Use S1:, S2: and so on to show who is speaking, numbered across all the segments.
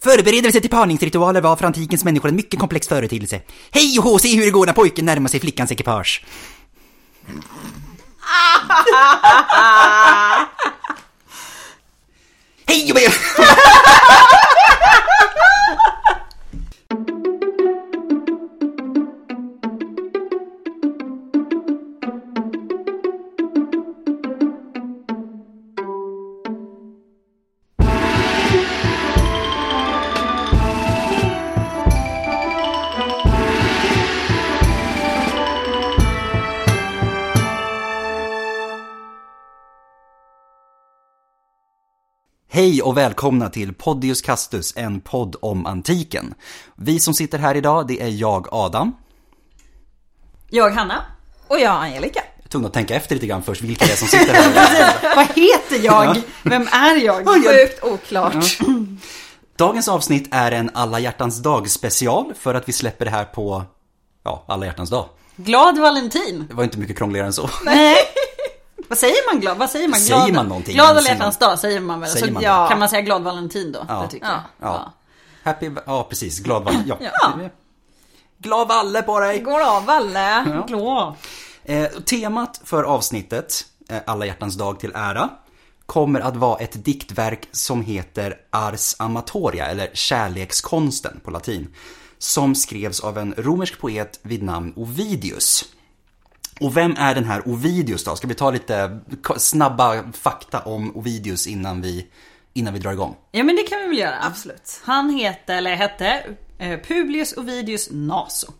S1: Förberedelse till parningsritualer var för antikens människor en mycket komplex företeelse. Hej och hå, se hur det går när pojken närmar sig flickans ekipage. Hej och be- Hej och välkomna till Podius Castus, en podd om antiken. Vi som sitter här idag, det är jag Adam.
S2: Jag Hanna. Och jag Angelica.
S1: Jag tog nog att tänka efter lite grann först vilka det är som sitter här.
S2: Vad heter jag? Vem är jag? Sjukt oklart.
S1: Dagens avsnitt är en alla hjärtans dag special för att vi släpper det här på, ja, alla hjärtans dag.
S2: Glad Valentin.
S1: Det var inte mycket krångligare än så.
S2: Nej. Vad säger man glad? Vad säger man?
S1: Säger
S2: Glad,
S1: man någonting?
S2: Glad alla
S1: Säger
S2: hjärtans dag säger man väl?
S1: Säger
S2: så
S1: man
S2: ja.
S1: det?
S2: kan man säga glad Valentin då?
S1: Ja.
S2: Det tycker jag.
S1: Ja. Happy, ja precis, glad valle. Ja.
S2: Ja.
S1: Glad valle på dig!
S3: Går av Valle.
S2: Mm. Glad.
S1: Eh, temat för avsnittet, eh, Alla hjärtans dag till ära, kommer att vara ett diktverk som heter Ars Amatoria, eller Kärlekskonsten på latin, som skrevs av en romersk poet vid namn Ovidius. Och vem är den här Ovidius då? Ska vi ta lite k- snabba fakta om Ovidius innan vi, innan vi drar igång?
S2: Ja men det kan vi väl göra.
S3: Absolut.
S2: Han hette, eller hette, eh, Publius Ovidius Naso.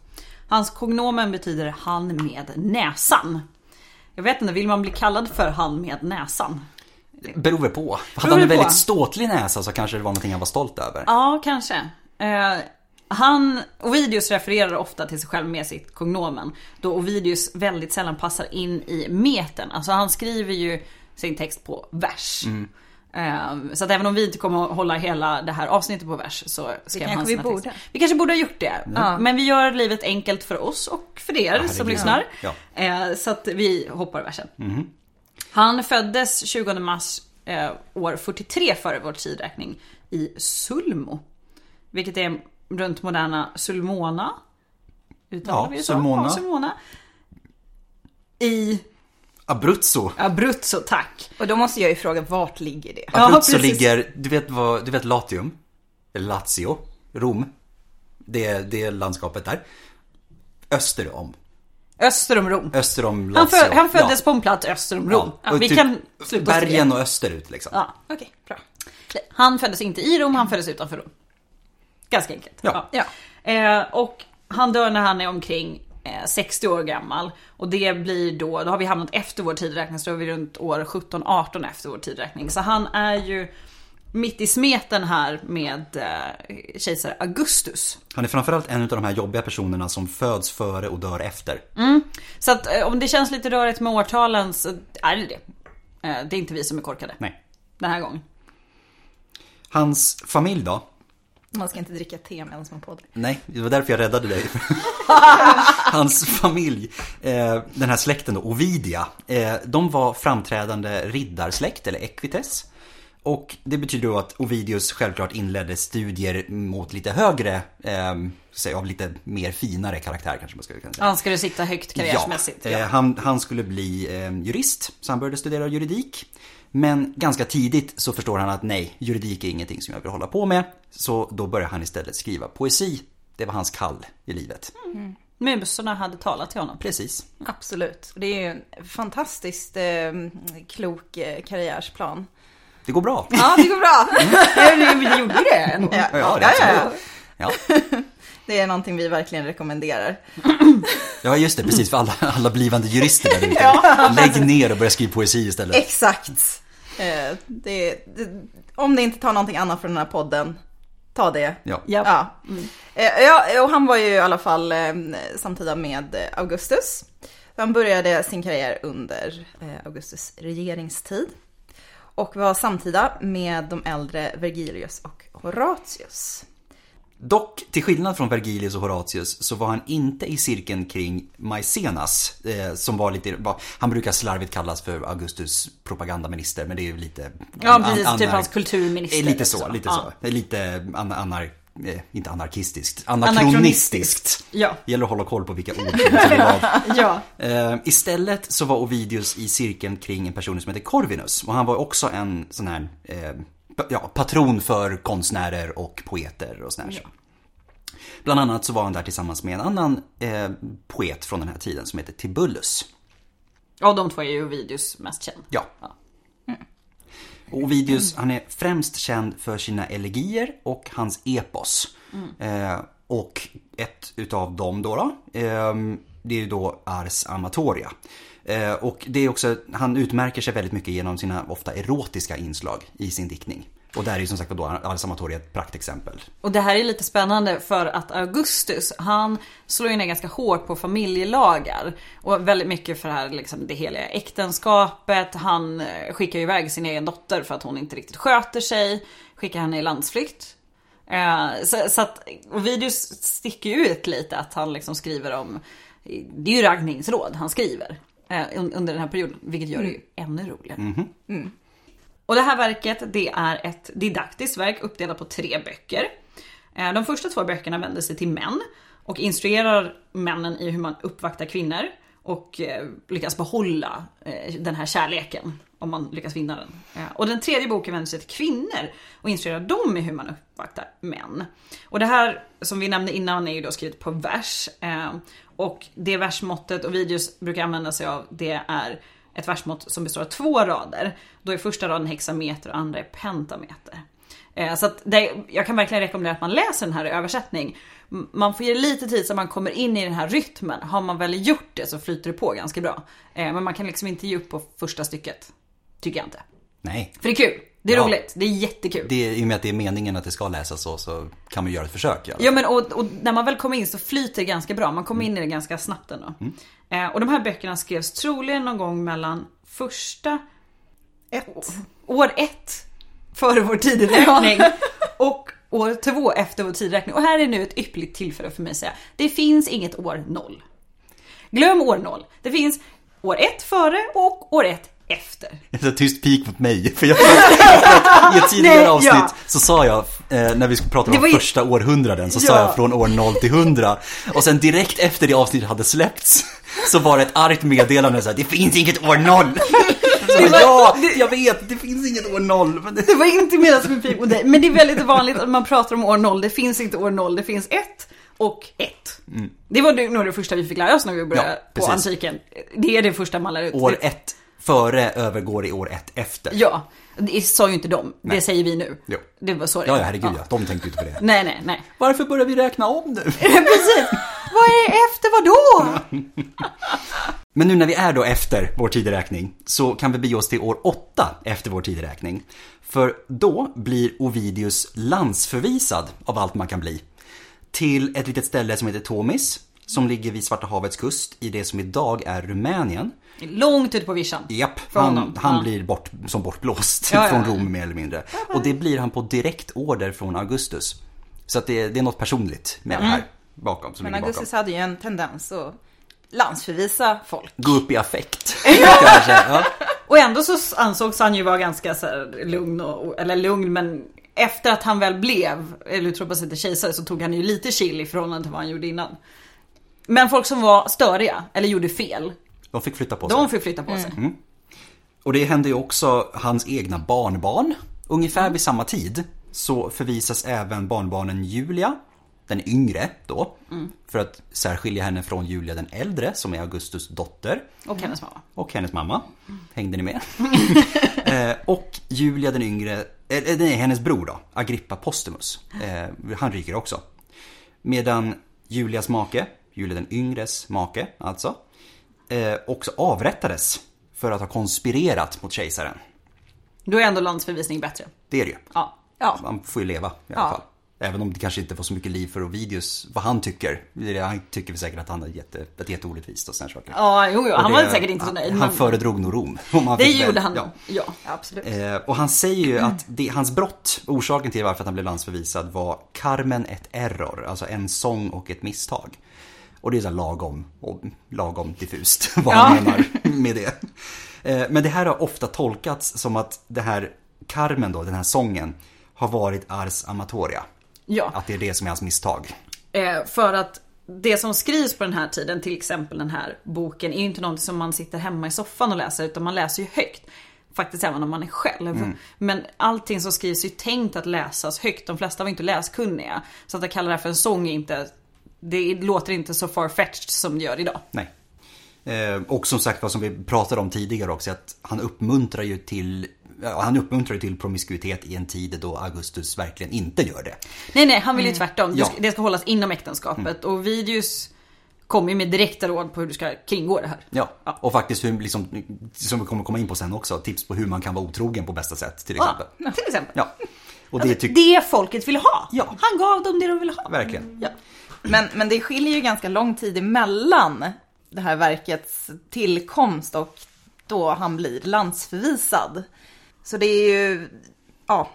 S2: Hans kognomen betyder han med näsan. Jag vet inte, vill man bli kallad för han med näsan?
S1: Beror väl på. Hade
S2: Beror
S1: han en
S2: det på?
S1: väldigt ståtlig näsa så kanske det var någonting han var stolt över.
S2: Ja, kanske. Eh, han, Ovidius refererar ofta till sig själv med sitt kognomen. Då Ovidius väldigt sällan passar in i metern. Alltså han skriver ju sin text på vers. Eh, Så att även om vi inte kommer att hålla hela det här avsnittet på vers så skrev
S3: kanske
S2: han
S3: vi
S2: sina
S3: borde.
S2: texter. Vi kanske borde ha gjort det. Ja. Men vi gör livet enkelt för oss och för er som
S1: herregud.
S2: lyssnar.
S1: Ja. Mhm.
S2: Eh, Så att vi hoppar versen. Han föddes 20 mars eh, år 43 före vår tidräkning i Sulmo. Vilket är runt moderna Sulmona. Uttalar
S1: Ja,
S2: vi det
S1: Sulmona.
S2: Så? Ja, Sulmona. I
S1: Abruzzo
S2: Abruzzo, tack.
S3: Och då måste jag ju fråga, vart ligger det?
S2: Ja,
S1: Abruzzo
S2: precis.
S1: ligger, du vet vad, du vet Latium? Eller Lazio? Rom? Det, det är landskapet där. Öster om.
S2: Öster om Rom.
S1: Öster om
S2: Han,
S1: Lazio.
S2: fö- han föddes på en plats öster om Rom. Ja,
S1: och
S2: vi
S1: typ
S2: kan sluta oss till
S1: Bergen
S2: det.
S1: och österut liksom.
S2: Ja.
S3: Okej, bra.
S2: Han föddes inte i Rom, han föddes utanför Rom. Ganska enkelt.
S1: Ja.
S3: Ja.
S2: Eh, och han dör när han är omkring eh, 60 år gammal. Och det blir då, då har vi hamnat efter vår tidräkning, så då är vi runt år 17-18 efter vår tidräkning. Så han är ju mitt i smeten här med eh, kejsare Augustus.
S1: Han är framförallt en av de här jobbiga personerna som föds före och dör efter.
S2: Mm. Så att eh, om det känns lite rörigt med årtalen så är det det. Eh, det är inte vi som är korkade
S1: Nej.
S2: den här gången.
S1: Hans familj då?
S3: Man ska inte dricka te medan man poddar.
S1: Nej, det var därför jag räddade dig. Hans familj, eh, den här släkten då, Ovidia, eh, de var framträdande riddarsläkt, eller equites. Och det betyder då att Ovidius självklart inledde studier mot lite högre, eh, säg, av lite mer finare karaktär kanske man skulle kunna säga.
S2: Han ska du sitta högt karriärsmässigt.
S1: Ja, eh, han, han skulle bli eh, jurist, så han började studera juridik. Men ganska tidigt så förstår han att nej, juridik är ingenting som jag vill hålla på med. Så då börjar han istället skriva poesi. Det var hans kall i livet.
S2: Musorna hade talat till honom.
S1: Precis.
S3: Absolut. Det är ju en fantastiskt eh, klok eh, karriärsplan.
S1: Det går bra.
S3: Ja, det går bra.
S2: Vi gjorde det!
S3: Mm. ja,
S1: Ja, det
S3: ja,
S1: är
S3: ja.
S1: absolut. Ja.
S3: det är någonting vi verkligen rekommenderar.
S1: ja, just det. Precis, för alla, alla blivande jurister där ute. Lägg ner och börja skriva poesi istället.
S3: Exakt. Eh, det, det, om ni inte tar någonting annat från den här podden, ta det.
S1: Ja.
S2: Ja. Mm.
S3: Ja. Eh, ja, och han var ju i alla fall eh, samtida med eh, Augustus. Han började sin karriär under eh, Augustus regeringstid. Och var samtida med de äldre Vergilius och Horatius.
S1: Dock, till skillnad från Vergilius och Horatius, så var han inte i cirkeln kring Maicenas, eh, som var lite, var, han brukar slarvigt kallas för Augustus propagandaminister, men det är ju lite...
S2: Ja, precis.
S1: an-
S2: typ
S1: anar-
S2: hans kulturminister.
S1: Eh, Lite så,
S2: liksom.
S1: lite
S2: ja.
S1: så. Det är Lite an- anar... eh, Inte anarkistiskt,
S2: Anakronistiskt.
S1: anakronistiskt.
S2: Ja.
S1: Gäller att hålla koll på vilka ord som betyder vad.
S2: Ja.
S1: Eh, istället så var Ovidius i cirkeln kring en person som heter Corvinus och han var också en sån här eh, pa- ja, patron för konstnärer och poeter och sån här. saker. Bland annat så var han där tillsammans med en annan eh, poet från den här tiden som heter Tibullus.
S2: Ja, de två är ju Ovidius mest känd.
S1: Ja. Och Ovidius, han är främst känd för sina elegier och hans epos. Eh, och ett utav dem då, då eh, det är ju då Ars Amatoria. Eh, och det är också, han utmärker sig väldigt mycket genom sina ofta erotiska inslag i sin diktning. Och där är ju som sagt då Ars Amatoria ett praktexempel.
S2: Och det här är lite spännande för att Augustus, han slår ju ner ganska hårt på familjelagar. Och väldigt mycket för det här liksom det heliga äktenskapet. Han eh, skickar ju iväg sin egen dotter för att hon inte riktigt sköter sig. Skickar henne i landsflykt. Eh, Så, så att Ovidius sticker ju ut lite att han liksom skriver om, det är ju raggningsråd han skriver. eh, un- Under den här perioden, vilket gör det ju ännu roligare. Och det här verket det är ett didaktiskt verk uppdelat på tre böcker. Eh, De första två böckerna vänder sig till män och instruerar männen i hur man uppvaktar kvinnor och eh, lyckas behålla eh, den här kärleken om man lyckas vinna den. Eh, Och den tredje boken vänder sig till kvinnor och instruerar dem i hur man uppvaktar män. Och det här som vi nämnde innan är ju då skrivet på vers eh, och det versmåttet och videos brukar använda sig av det är ett versmått som består av två rader. Då är första raden hexameter och andra är pentameter. Eh, Så att det, jag kan verkligen rekommendera att man läser den här i översättning. M- Man får ge det lite tid så att man kommer in i den här rytmen. Har man väl gjort det så flyter det på ganska bra. Eh, Men man kan liksom inte ge upp på första stycket. Tycker jag inte.
S1: Nej,
S2: För det är kul. Det är
S1: Ja.
S2: roligt. Det är jättekul.
S1: det är, i och med att det är meningen att det ska läsas så, så kan man göra ett försök. Ja.
S2: Ja men och, och när man väl kommer in så flyter det ganska bra. Man kommer in i det ganska snabbt ändå.
S1: Mm.
S2: Eh, och de här böckerna skrevs troligen någon gång mellan första
S3: Ett.
S2: år ett före vår tideräkning och år två efter vår tideräkning. Och här är nu ett ypperligt tillfälle för mig att säga, det finns inget år noll. Glöm år noll. Det finns år ett före och år ett efter.
S1: Det är en tyst pik mot mig. För jag, för att I ett tidigare
S2: Nej, ja.
S1: avsnitt så sa jag, eh, när vi skulle prata
S2: Det
S1: om
S2: var ju-
S1: första århundraden, så sa
S2: Ja.
S1: jag från år 0 till 100. Och sen direkt efter det avsnittet hade släppts så var det ett argt meddelande så här, det finns inget år 0. Så jag bara, ja, jag vet, det finns inget år 0. Men det...
S2: Det var inte menat som en pik mot dig, men det är väldigt vanligt att man pratar om år noll. Det finns inte år noll, det finns ett och ett. Det var det- nog det första vi fick lära oss när vi började
S1: Mm. Ja,
S2: på
S1: precis.
S2: antiken. Det är det första man lär ut.
S1: År 1 före övergår i år 1 efter. Ja,
S2: Ja, det sa ju inte de. Det säger vi nu.
S1: Jo.
S2: Det var så det
S1: ja,
S2: var.
S1: herregud ja. De tänkte ju inte på det.
S2: Nej, nej, nej.
S1: Varför börjar vi räkna om nu?
S2: Precis. Vad är efter vad då?
S1: Men nu när vi är då efter vår tideräkning så kan vi bege oss till år 8 efter vår tideräkning. För då blir Ovidius landsförvisad av allt man kan bli. Till ett litet ställe som heter Tomis, som ligger vid Svarta havets kust i det som idag är Rumänien.
S2: Långt ut på vischan.
S1: Japp,
S2: Från
S1: han,
S2: honom.
S1: han
S2: Ja.
S1: blir bort, som bortblåst
S2: Ja, ja.
S1: från Rom mer eller mindre. Och det blir han på direkt order från Augustus. Så att det, är- det är något personligt med det här
S2: Mm.
S1: bakom. Som
S3: Men
S1: ligger bakom.
S3: Augustus hade ju en tendens att landsförvisa folk.
S1: Gå upp i affekt. kanske. Ja.
S2: Och ändå så ansågs han ju vara ganska så här lugn och, eller lugn men efter att han väl blev, eller utropades till kejsare så tog han ju lite chill i förhållande till vad han gjorde innan. Men folk som var störiga, eller gjorde fel,
S1: De fick flytta på sig.
S2: de fick flytta på sig.
S1: Och det hände ju också hans egna barnbarn. Ungefär vid samma tid så förvisas även barnbarnen Julia, den yngre då, för att särskilja henne från Julia den äldre som är Augustus dotter
S2: Och hennes mamma.
S1: och hennes mamma. Hängde ni med? eh, och Julia den yngre, eh, nej hennes bror då, Agrippa Postumus. Eh, han ryker också. Medan Julias make, Julia den yngres make alltså, eh, också avrättades för att ha konspirerat mot kejsaren.
S2: Då är ändå landsförvisning bättre.
S1: Det är det ju.
S2: Ja.
S3: Ja.
S1: Man får ju leva i alla
S3: Ja.
S1: fall. Även om det kanske inte var så mycket liv för Ovidius, vad han tycker. Han tycker väl säkert att han är jätte, ett jätteorättvist och sådana saker.
S2: Ja, jo, jo
S1: Och
S2: han
S1: det-
S2: var säkert inte så nöjd.
S1: Han,
S2: men
S1: han föredrog nog Rom. om han
S2: det
S1: fick väl-
S2: gjorde han.
S1: ja.
S2: Ja.
S3: Ja, absolut.
S1: Eh, Och han säger ju att det, hans brott, orsaken till varför att han blev landsförvisad var Carmen ett error, alltså en sång och ett misstag. Och det är så här lagom, och lagom diffust vad han menar med det. Eh, Men det här har ofta tolkats som att det här Carmen då, den här sången, har varit Ars Amatoria.
S2: ja.
S1: Att det är det som är hans misstag.
S2: Eh, för att det som skrivs på den här tiden, till exempel den här boken, är ju inte någonting som man sitter hemma i soffan och läser utan man läser ju högt. Faktiskt även om man är själv. Men allting som skrivs är ju tänkt att läsas högt. De flesta var ju inte läskunniga. Så att kalla det här för en sång är inte, det låter inte så farfetched som det gör idag.
S1: Nej. Eh, Och som sagt vad som vi pratade om tidigare också, att han uppmuntrar ju till ja, han uppmuntrar ju till promiskuitet i en tid då Augustus verkligen inte gör det.
S2: Nej nej, han vill ju tvärtom. Det
S1: Ja.
S2: ska, det ska hållas inom äktenskapet. Och Vidius kommer ju med direkta råd på hur du ska kringgå det här.
S1: Ja, och faktiskt hur, liksom, som vi kommer komma in på sen också, tips på hur man kan vara otrogen på bästa sätt till exempel.
S2: Ja, till exempel.
S1: Ja, och Ah. Alltså, det tycker
S2: Det folket ville ha.
S1: Ja.
S2: Han gav dem det de ville ha.
S1: verkligen.
S2: Ja.
S3: Men, men det skiljer ju ganska lång tid emellan det här verkets tillkomst och då han blir landsförvisad. Så det är ju, ja,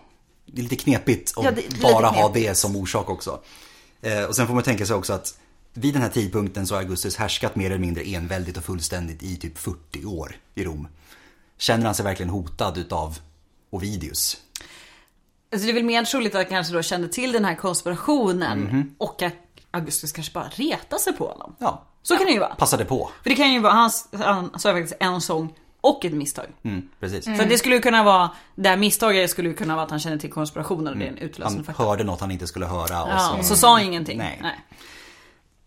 S1: Det är lite knepigt att
S3: Ja, det är lite
S1: bara ha
S3: knepigt.
S1: det som orsak också. Eh, och sen får man tänka sig också att vid den här tidpunkten så har Augustus härskat mer eller mindre enväldigt och fullständigt i typ 40 år i Rom. Känner han sig verkligen hotad utav Ovidius?
S2: Alltså det är väl mer troligt att han kanske då kände till den här konspirationen
S1: Mhm.
S2: och att Augustus kanske bara retade sig på honom.
S1: Ja,
S2: Så kan det ju vara.
S1: passade på.
S2: För det kan ju vara, han, han sa ju faktiskt en sång och ett misstag.
S1: Mm, precis.
S2: Så det skulle ju kunna vara, det här misstaget skulle ju kunna vara att han kände till konspirationen och det är en utlösande
S1: Mm. Han
S2: faktor.
S1: hörde något han inte skulle höra och
S2: Ja,
S1: så
S2: så sa han ingenting.
S1: Nej.
S2: Nej.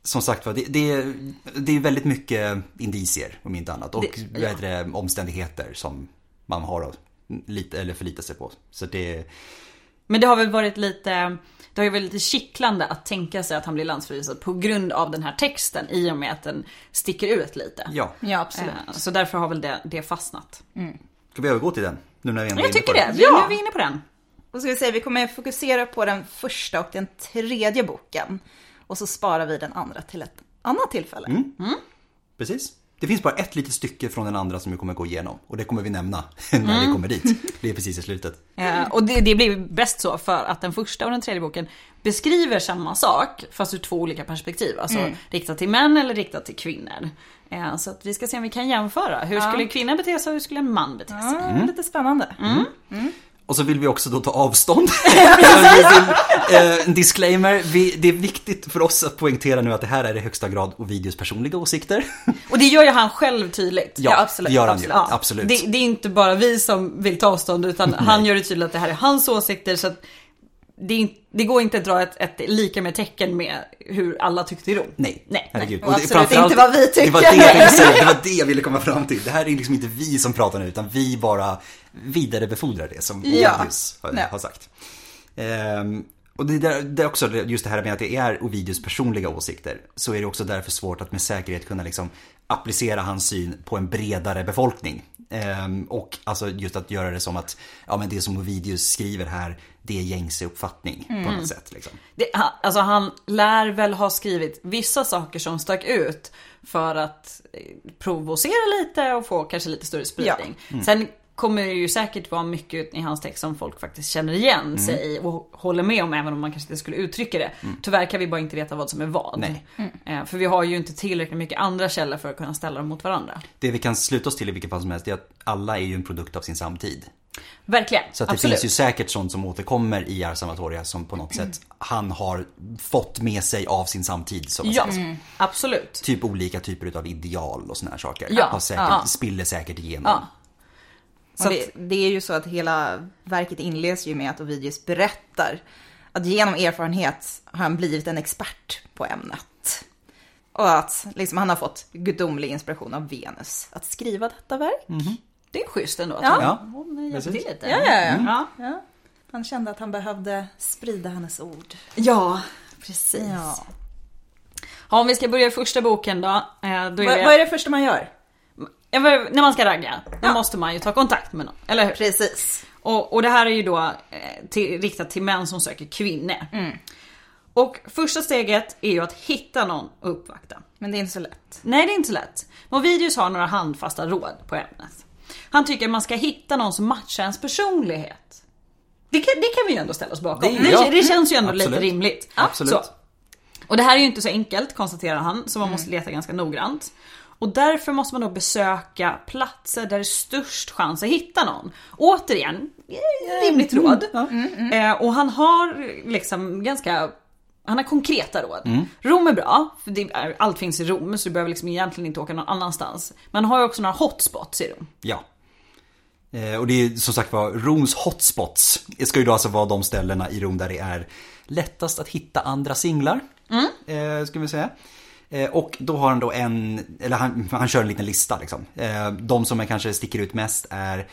S1: som sagt var, det, det, det är väldigt mycket indicier om inte annat. Och
S2: Det-
S1: vad heter det, omständigheter som man har att lita, eller förlita sig på. Så det,
S2: Men det har väl varit lite, det har ju varit lite kittlande att tänka sig att han blir landsförvisad på grund av den här texten i och med att den sticker ut lite.
S1: ja.
S3: ja absolut.
S2: Eh, Så därför har väl det, det fastnat.
S1: Ska vi övergå till den? Nu när vi ändå
S2: Jag
S1: är inne på
S2: tycker det.
S3: Ja.
S2: Ja. Nu är vi inne på den.
S3: Och ska vi säga, vi kommer fokusera på den första och den tredje boken. Och så sparar vi den andra till ett annat tillfälle.
S1: Precis. Det finns bara ett litet stycke från den andra som vi kommer gå igenom. Och det kommer vi nämna när vi kommer dit. Det är precis i slutet.
S2: Eh, Och det, det blir bäst så för att den första och den tredje boken beskriver samma sak fast ur två olika perspektiv. Alltså
S1: Mm.
S2: riktat till män eller riktat till kvinnor. Eh, Så att vi ska se om vi kan jämföra. Hur skulle en kvinna bete sig och hur skulle en man bete sig?
S3: Ja, Lite spännande.
S1: Och så vill vi också då ta avstånd. Vi vill, eh, en disclaimer, vi, det är viktigt för oss att poängtera nu att det här är i högsta grad Ovidius personliga åsikter.
S2: Och det gör ju han själv tydligt.
S1: Ja, Ja, absolut, det gör han ju. absolut. Absolut.
S2: Det, det är inte bara vi som vill ta avstånd utan han gör det tydligt att det här är hans åsikter. Så att det, är in- det går inte att dra ett, ett lika med tecken med hur alla tyckte i Rom.
S1: Nej,
S2: Nej,
S1: herregud.
S3: nej. Och absolut inte vad vi
S1: Det var det,
S3: tycker.
S1: jag ville säga, det var det jag ville komma fram till. Det här är liksom inte vi som pratar nu, utan vi bara vidarebefordrar det som
S3: Ja.
S1: Ovidius har,
S3: Nej.
S1: har sagt. Ehm, och det, där, det är också just det här med att det är Ovidius personliga åsikter. Så är det också därför svårt att med säkerhet kunna liksom applicera hans syn på en bredare befolkning. Ehm, och alltså just att göra det som att ja, men det som Ovidius skriver här, det är gängse uppfattning på
S3: Mm.
S1: något sätt. Liksom.
S2: Det, han, alltså han lär väl ha skrivit vissa saker som stack ut för att eh, provocera lite och få kanske lite större spridning.
S1: Mm.
S2: Sen kommer det ju säkert vara mycket i hans text som folk faktiskt känner igen
S1: Mm.
S2: sig i och håller med om även om man kanske inte skulle uttrycka det. Tyvärr kan vi bara inte veta vad som är vad.
S1: Mm. Nej.
S2: Eh, För vi har ju inte tillräckligt mycket andra källor för att kunna ställa dem mot varandra.
S1: Det vi kan sluta oss till i vilket fall som helst är att alla är ju en produkt av sin samtid.
S2: Verkligen,
S1: Så att det
S2: absolut.
S1: finns ju säkert sånt som återkommer i Ars Amatoria som på något sätt han har fått med sig av sin samtid. Så Mm. att
S2: ja,
S1: säga.
S2: absolut.
S1: Typ olika typer av ideal och såna här saker.
S2: Ja,
S1: Har säkert,
S2: ja.
S1: Spiller säkert igenom.
S2: Ja.
S3: Så det, det är ju så att hela verket inleds ju med att Ovidius berättar att genom erfarenhet har han blivit en expert på ämnet. Och att liksom, han har fått gudomlig inspiration av Venus att skriva detta verk.
S2: Det är schysst ändå att
S3: Ja.
S1: Ja,
S2: hon, hon hjälpte
S1: precis.
S2: till lite. Mm.
S3: Ja, ja, ja.
S1: Mm.
S2: ja.
S3: Ja. Han kände att han behövde sprida hennes ord.
S2: Ja, precis. Ja.
S3: Ja.
S2: om vi ska börja i första boken då. eh, då är
S3: Vad,
S2: det,
S3: vad är det första man gör?
S2: Ja, vad- När man ska ragga, då
S3: Ja.
S2: måste man ju ta kontakt med någon, eller hur?
S3: Precis.
S2: Och, och det här är ju då eh, till, riktat till män som söker kvinnor. Och första steget är ju att hitta någon och uppvakta.
S3: Men det är inte så lätt.
S2: Nej, det är inte så lätt. Movidius har några handfasta råd på ämnet. Han tycker man ska hitta någon som matchar ens personlighet. Det kan, det kan vi ju ändå ställa oss bakom.
S1: Det
S2: Det,
S1: är- ja.
S2: det känns ju ändå lite
S1: Absolut.
S2: rimligt.
S1: Absolut.
S2: Så. Och det här är ju inte så enkelt konstaterar han, så man måste leta ganska noggrant. Och därför måste man då besöka platser där det är störst chans att hitta någon. Återigen, eh, rimligt
S1: Mm.
S2: råd. Eh, och han har liksom ganska, han har konkreta råd.
S1: Mm.
S2: Rom är bra, för det är, allt finns i Rom så du behöver liksom egentligen inte åka någon annanstans. Man har ju också några hotspots i Rom.
S1: Ja. Eh, Och det är som sagt var Roms hotspots. Det ska ju då alltså vara de ställena i Rom där det är lättast att hitta andra singlar.
S3: Mm.
S1: Eh, ska vi säga. Eh, Och då har han då en, eller han, han kör en liten lista liksom. Eh, De som är kanske sticker ut mest är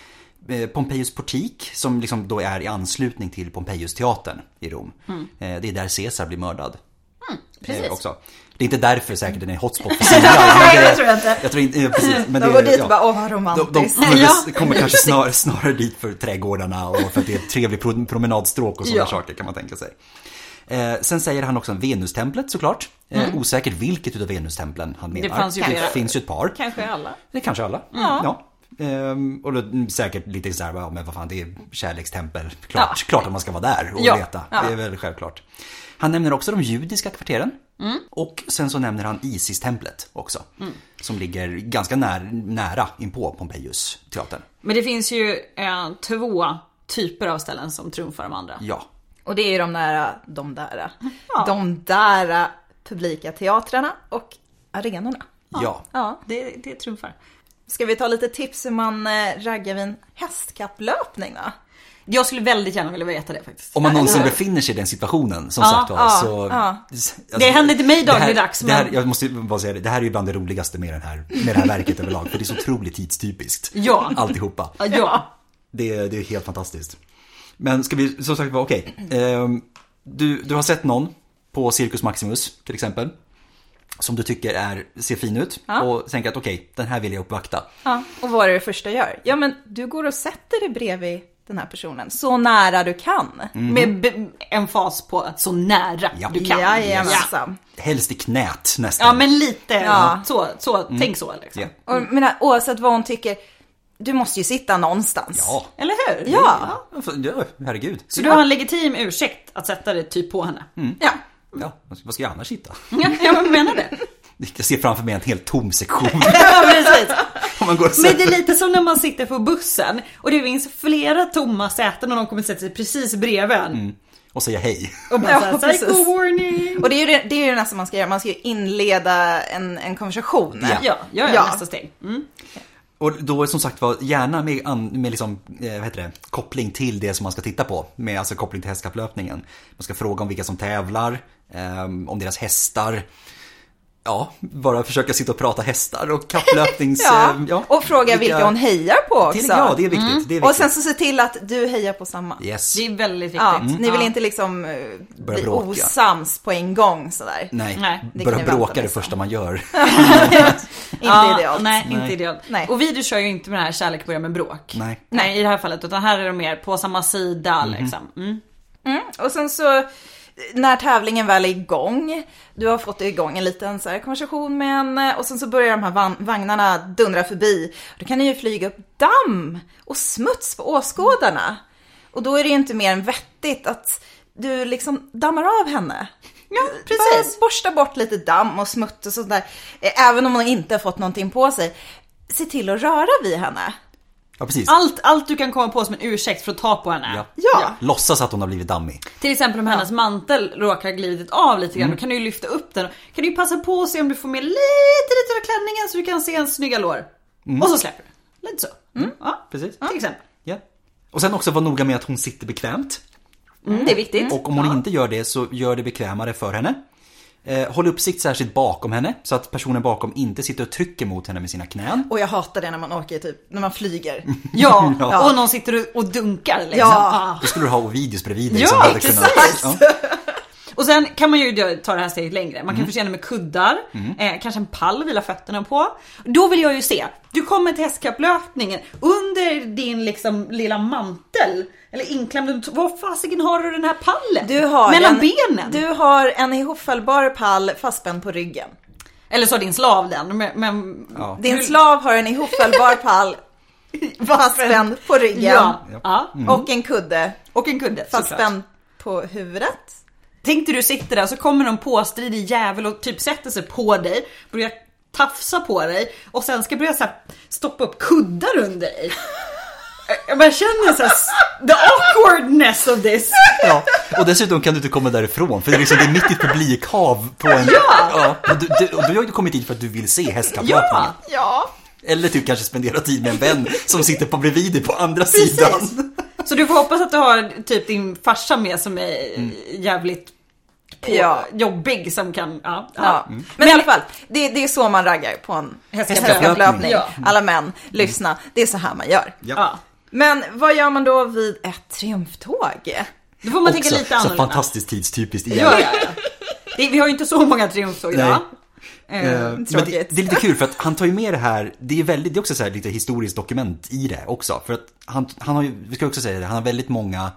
S1: eh, Pompejus portik som liksom då är i anslutning till Pompejus teatern i Rom.
S3: Mm.
S1: Eh, Det är där Caesar blir mördad.
S2: precis.
S1: Eh, Också. Det är inte därför säkert den är hotspot för singlar. men det-
S3: jag tror inte.
S1: Jag tror inte, eh, precis. Men
S3: De
S1: det-
S3: går dit
S1: ja.
S3: och bara åh vad
S1: De, de
S3: romantiskt.
S1: kommer,
S2: Ja,
S1: kommer kanske snar, snarare dit för trädgårdarna och för att det är ett trevligt pro- promenadstråk och sådana
S2: Ja.
S1: saker kan man tänka sig. Eh, sen säger han också om Venustemplet såklart. Eh, Osäkert vilket utav Venustemplen han menar.
S2: Mm. fanns ju flera.
S1: det finns ju ett par.
S2: Kanske alla.
S1: Det kanske alla. Ja. Ehm, och då, mm, säkert lite såhär, ja, men vad fan det är kärlekstempel. Klart,
S2: Ja.
S1: klart att man ska vara där och
S2: Ja.
S1: leta.
S2: Ja.
S1: Det är väl självklart. Han nämner också de judiska kvarteren.
S2: Mm.
S1: Och sen så nämner han Isis-templet också. Som ligger ganska när, nära inpå Pompejus teatern.
S2: Men det finns ju eh, två typer av ställen som trumfar de andra.
S1: Ja.
S3: Och det är ju de där, de där,
S2: Ja.
S3: de där publika teatrarna och arenorna.
S1: Ja.
S2: Ja, det, det trumfar.
S3: Ska vi ta lite tips hur man eh, raggar vid en hästkapplöpning då?
S2: Jag skulle väldigt gärna vilja veta det faktiskt.
S1: Om man någonsin befinner sig i den situationen som
S2: Ja,
S1: sagt var
S3: ja,
S1: så...
S3: ja.
S1: Alltså,
S2: Det händer inte mig
S1: det här-
S2: dagligdags,
S1: det här,
S2: men-
S1: Jag måste ju bara säga det, det här är ju bland det roligaste med, den här, med det här verket överlag. För det är så otroligt tidstypiskt.
S2: Ja.
S1: Alltihopa.
S2: Ja, ja.
S1: Det, är- det är helt fantastiskt. Men ska vi, som sagt var, okej. Ehm, du, du har sett någon på Circus Maximus till exempel. Som du tycker är, ser fin ut och tänker att okej, den här vill jag uppvakta.
S3: Ja, och vad är det första jag gör? Ja, men du går och sätter dig bredvid den här personen så nära du kan.
S2: Med be- en fas på att så nära
S1: Mhm. Ja.
S2: du kan. ja.
S3: Jajamensan.
S1: Helst i knät nästan.
S2: ja men lite
S3: Ja.
S2: så, så tänk så liksom.
S1: Mm. Ja.
S3: Och jag menar, oavsett vad hon tycker, du måste ju sitta någonstans.
S1: Ja.
S2: Eller hur?
S3: Ja.
S1: Ja, för- ja, herregud.
S2: Så du har en legitim ursäkt att sätta dig typ på henne.
S1: Mm.
S3: ja.
S1: Ja, vad ska- vad ska jag annars hitta?
S2: Ja, jag menar det.
S1: Jag ser framför mig en helt tom sektion.
S2: Ja, precis.
S1: Om man går och
S2: Men det
S1: sätter.
S2: är lite som när man sitter på bussen och det finns flera tomma säten och någon kommer sätta sig precis bredvid en.
S1: Mm. Och säger hej.
S2: Och bara
S3: Ja,
S2: såhär,
S3: precis.
S2: psycho warning.
S3: Och det är ju det, det, är ju det nästa man ska göra, man ska ju inleda en, en konversation.
S1: Ja.
S2: Ja, jag är
S3: Ja.
S2: nästa steg. Mm.
S1: Och då som sagt var, gärna med, an- med liksom, eh, vad heter det, koppling till det som man ska titta på. Med, alltså koppling till hästkapplöpningen. Man ska fråga om vilka som tävlar, ehm, om deras hästar. Ja, bara försöka sitta och prata hästar och kapplöpnings...
S3: Ja.
S1: ehm,
S3: Och fråga vilka, hon hejar på också.
S1: till, Ja, det är viktigt. Det är viktigt.
S3: Och sen så se till att du hejar på samma.
S1: yes.
S2: Det är väldigt viktigt.
S3: Ja, Ni vill
S2: Ja.
S3: inte liksom eh, bli
S1: Mm. bråka.
S3: osams på en gång sådär.
S1: Nej,
S2: Nej, det
S1: börja
S3: kan jag
S1: bråka
S3: vänta
S1: det
S3: liksom.
S1: första man gör.
S3: Inte
S2: Ja,
S3: idealt.
S2: Nej,
S1: Nej.
S2: inte idealt.
S3: Nej.
S2: Och video kör ju inte med det här kärlek börjar med bråk.
S1: Nej. Mhm.
S2: Nej, i det här fallet. Utan här är de mer på samma sida liksom. Mm.
S3: Mm. Och sen så när tävlingen väl är igång, du har fått igång en liten så här konversation med en och sen så börjar de här van- vagnarna dundra förbi. Då kan det ju flyga upp damm och smuts på åskådarna. Och då är det ju inte mer än vettigt att du liksom dammar av henne. Ja,
S2: precis.
S3: Bara borsta bort lite damm och smutt och sånt där. Eh, Även om hon inte har fått någonting på sig. Se till att röra vid henne.
S1: Ja, precis.
S2: Allt, allt du kan komma på som en ursäkt för att ta på henne.
S1: Ja.
S3: Ah, Ja.
S1: Låtsas att hon har blivit dammig.
S2: Till exempel om hennes mantel råkar ha glidit av lite
S1: Mm.
S2: grann. Då kan du ju lyfta upp den. Kan du ju passa på att se om du får med lite, lite av klänningen så du kan se hennes snygga lår.
S1: Mm.
S2: Och så släpper du. Lite så. Mm. Ja,
S1: Precis.
S2: till exempel.
S1: Ja. Och sen också vara noga med att hon sitter bekvämt.
S2: Det är viktigt.
S1: Och om hon inte gör det så gör det bekvämare för henne. Eh, håll uppsikt särskilt bakom henne så att personen bakom inte sitter och trycker mot henne med sina knän.
S3: Och jag hatar det när man åker typ, när man flyger.
S2: Ja,
S1: Ja.
S2: och någon sitter och- och dunkar liksom.
S3: Ja.
S2: Ah.
S1: Då skulle du ha Ovidius bredvid dig
S2: Ja,
S1: som hade kunnat...
S2: precis.
S1: Ja.
S2: Och sen kan man ju då ta det här steget längre. Man kan förse den med kuddar, eh, kanske en pall vila fötterna på. Då vill jag ju se, du kommer till hästkapplöpningen under din liksom lilla mantel, eller inklämd, under- var fasiken har du den här pallen?
S3: Du har
S2: Mellan
S3: en,
S2: benen?
S3: Du har en ihopfällbar pall fastspänd på ryggen.
S2: Eller så har din slav den, men... men...
S1: Ja.
S3: Din slav har en ihopfällbar pall fastspänd på ryggen.
S2: Ja. ja.
S3: Och en kudde
S2: Och en kudde såklart.
S3: fastspänd på huvudet.
S2: Tänk dig du sitter där så kommer någon påstridig jävel och typ sätter sig på dig, börjar tafsa på dig och sen ska börja så här stoppa upp kuddar under dig. Jag bara känner såhär, the awkwardness of this.
S1: Ja, och dessutom kan du inte komma därifrån för det är, liksom, det är mitt i ett publikhav på en...
S2: Ja.
S1: och du, du, och du har ju kommit dit för att du vill se hästkapplöpningen.
S2: Ja!
S3: Ja.
S1: Eller typ kanske spendera tid med en vän som sitter på bredvid dig på andra sidan.
S2: Så du får hoppas att du har typ din farsa med som är
S1: Mm.
S2: jävligt på,
S3: Ja.
S2: jobbig som kan, ja. ja.
S3: Ja. Men, i alla fall, det, det är så man raggar på en hästkapplöpning.
S2: Ja.
S3: Alla män, lyssna. Det är så här man gör.
S2: ja.
S3: Men vad gör man då vid ett triumftåg?
S2: Då får man tänka lite
S1: så
S2: annorlunda.
S1: fantastiskt tidstypiskt igen.
S2: Ja, ja, ja. Det, vi har ju inte så många triumftåg idag.
S1: Eh, men det,
S3: tråkigt.
S1: det är lite kul för att han tar ju med det här, det är, väldigt, det är också så här lite historiskt dokument i det också. För att han, han har ju, vi ska också säga det, han har väldigt många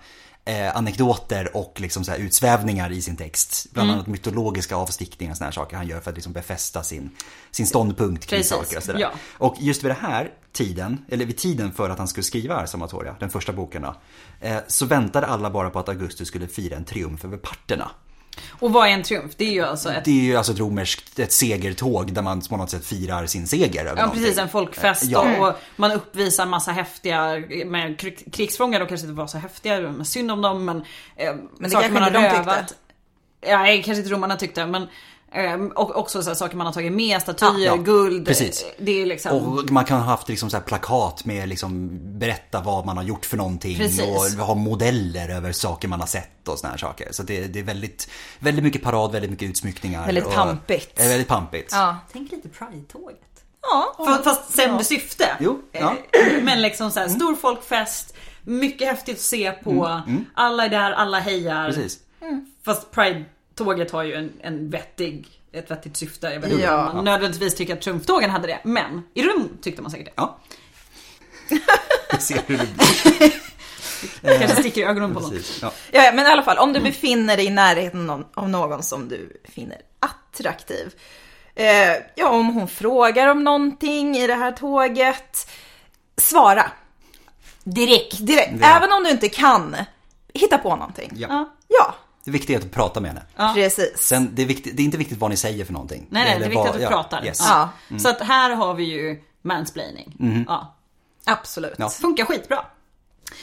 S1: eh, anekdoter och liksom så här utsvävningar i sin text. Bland annat mytologiska avstickningar och såna här saker han gör för att liksom befästa sin, sin ståndpunkt kring
S2: Precis,
S1: saker och sådär.
S2: ja.
S1: Och just vid den här tiden, eller vid tiden för att han skulle skriva Ars Amatoria, den första boken då, eh, så väntade alla bara på att Augustus skulle fira en triumf över parterna.
S2: Och vad är en triumf? Det är ju alltså ett
S1: Det är ju alltså ett romerskt ett segertåg där man på något sätt firar sin seger över
S2: Ja
S1: någonting.
S2: precis, en folkfest
S1: Ja.
S3: Mm.
S2: och, och man uppvisar massa häftiga med krig- krigsfångar, de kanske inte var så häftiga, men synd om dem men... Eh, saker
S3: det kanske
S2: man har
S3: inte de tyckte.
S2: rövat. Ja, nej, kanske inte romarna tyckte men... Eh, och också så här, saker man har tagit med, statyer,
S1: Ja, ja,
S2: guld.
S1: precis.
S2: eh, Det är liksom...
S1: Och man kan ha haft liksom så här plakat med liksom berätta vad man har gjort för någonting
S2: Precis.
S1: och ha modeller över saker man har sett och såna här saker. Så det, det är väldigt, väldigt mycket parad, väldigt mycket utsmyckningar.
S3: Väldigt
S1: och,
S3: pampigt.
S1: Eh, väldigt pampigt.
S3: Ja.
S2: Tänk lite Pride-tåget.
S3: Ja.
S2: Fast, fast sämre syfte.
S1: Jo, Mm. ja.
S2: Eh, Men liksom så här, stor folkfest, mycket häftigt att se på, alla är där, alla hejar.
S1: Mm. Precis.
S2: Fast Pride-tåget har ju en, en vettig, ett vettigt syfte. Jag vet inte
S3: Ja.
S2: om man nödvändigtvis tycker att Trumftågen hade det. Men i Rom tyckte man säkert det.
S1: Ja. Vi ser hur det
S2: Kanske sticker i ögonen på någon.
S1: precis. Ja.
S3: Ja, ja, men i alla fall, om du
S2: Mm.
S3: befinner dig i närheten av- av någon som du finner attraktiv. Eh, ja, om hon frågar om någonting i det här tåget. Svara
S2: Direkt.
S3: direkt,
S1: Ja.
S3: även om du inte kan hitta på någonting.
S1: Ja.
S2: Ja.
S3: Ja,
S1: Det viktiga är att prata med henne.
S3: precis.
S1: Sen, det, är viktigt, det är inte viktigt vad ni säger för någonting.
S2: Nej, nej, det
S1: Eller
S2: är viktigt
S1: vad-
S2: att du
S1: ja,
S2: pratar.
S1: Yes. Mm.
S2: Ja. Så att här har vi ju mansplaining.
S1: Mhm.
S2: Ja.
S3: Absolut.
S1: Ja.
S2: Funkar skitbra.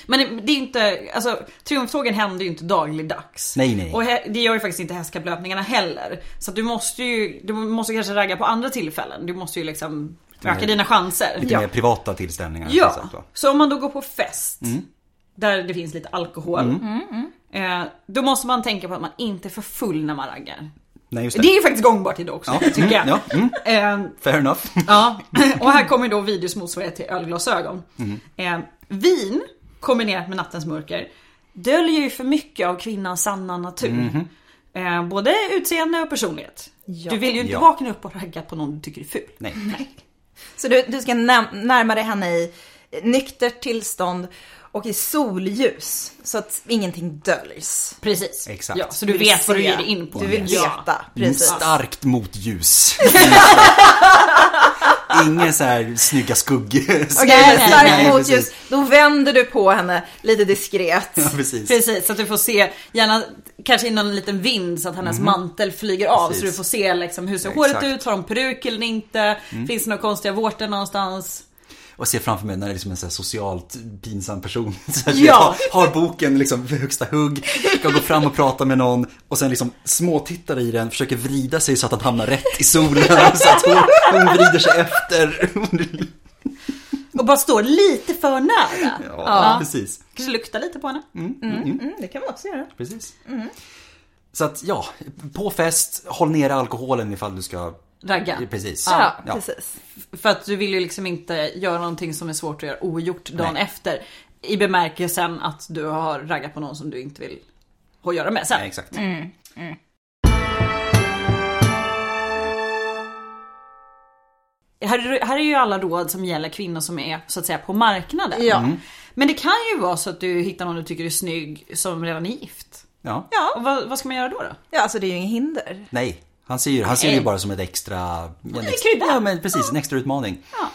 S2: Men det, det är ju inte, alltså triumftågen händer ju inte dagligdags.
S1: Nej, nej, nej.
S2: Och he, det gör ju faktiskt inte hästkapplöpningarna heller. Så att du måste ju, du måste kanske ragga på andra tillfällen. Du måste ju liksom öka
S1: mer-
S2: dina chanser.
S1: Lite mer privata tillställningar.
S2: Ja,
S1: till exempel, va?
S2: så om man då går på fest
S1: Mm.
S2: där det finns lite alkohol.
S3: Mm,
S2: Eh, då måste man tänka på att man inte är för full när man raggar.
S1: Nej, just det.
S2: Det är ju faktiskt gångbart idag också, tycker jag.
S1: Ja, mm.
S2: Eh,
S1: Fair enough.
S2: ja. Och här kommer då videos motsvarighet till ölglasögon.
S1: Mm.
S2: Eh, vin kombinerat med nattens mörker döljer ju för mycket av kvinnans sanna natur.
S1: Mhm.
S2: Eh, både utseende och personlighet.
S3: Ja.
S2: Du vill ju inte
S1: Ja.
S2: vakna upp och ragga på någon du tycker är ful.
S1: Nej.
S3: Så du, du ska näm- närma dig henne i nyktert tillstånd och i solljus. Så att ingenting döljs.
S2: Precis.
S1: Exakt.
S2: Ja, så du,
S3: Du vill
S2: vet vad du
S3: se.
S2: ger dig in på.
S3: Du vill
S2: Ja.
S3: veta, precis.
S1: Mm. Starkt motljus. Ingen så här snygga skugg.
S2: Nej,
S3: Okej, okay,
S1: nej,
S3: starkt motljus.
S1: precis.
S3: Då vänder du på henne lite diskret.
S1: Ja, precis.
S2: Precis, så att du får se, gärna kanske i någon liten vind så att hennes mantel flyger av.
S1: Mhm. Precis.
S2: Så du får se liksom, hur ser
S1: Ja,
S2: håret
S1: exakt. Mm.
S2: ut, har hon peruk eller inte? Finns det några konstiga vårtor någonstans?
S1: Och ser framför mig när det är liksom en så här socialt pinsam person. Så här,
S2: Ja.
S1: har, har boken liksom vid högsta hugg, ska gå fram och prata med någon och sen liksom småtittar i den, försöker vrida sig så att han hamnar rätt i solen. Så att hon, hon vrider sig efter.
S2: Och bara står lite för nära.
S1: Ja, precis.
S2: Kanske lukta lite på henne.
S3: Mm, det kan man också göra.
S1: precis. Så att ja, på fest, håll nere alkoholen ifall du ska...
S2: Ragga.
S1: Precis.
S3: Ja, precis.
S2: För att du vill ju liksom inte göra någonting som är svårt att göra ogjort dagen
S1: Nej.
S2: efter. I bemärkelsen att du har raggat på någon som du inte vill ha att göra med sen.
S1: Ja, exakt.
S2: här, här är ju alla råd som gäller kvinnor som är så att säga på marknaden.
S3: Ja.
S2: Men det kan ju vara så att du hittar någon du tycker är snygg som redan är gift.
S1: Ja.
S3: Ja.
S2: Och vad, vad ska man göra då? då?
S3: ja, alltså det är ju inget hinder.
S1: Nej, han ser ju, han ser ju
S2: Nej.
S1: bara som ett extra... En extra
S2: krydda.
S1: ja, men precis. En extra utmaning.
S2: Ja.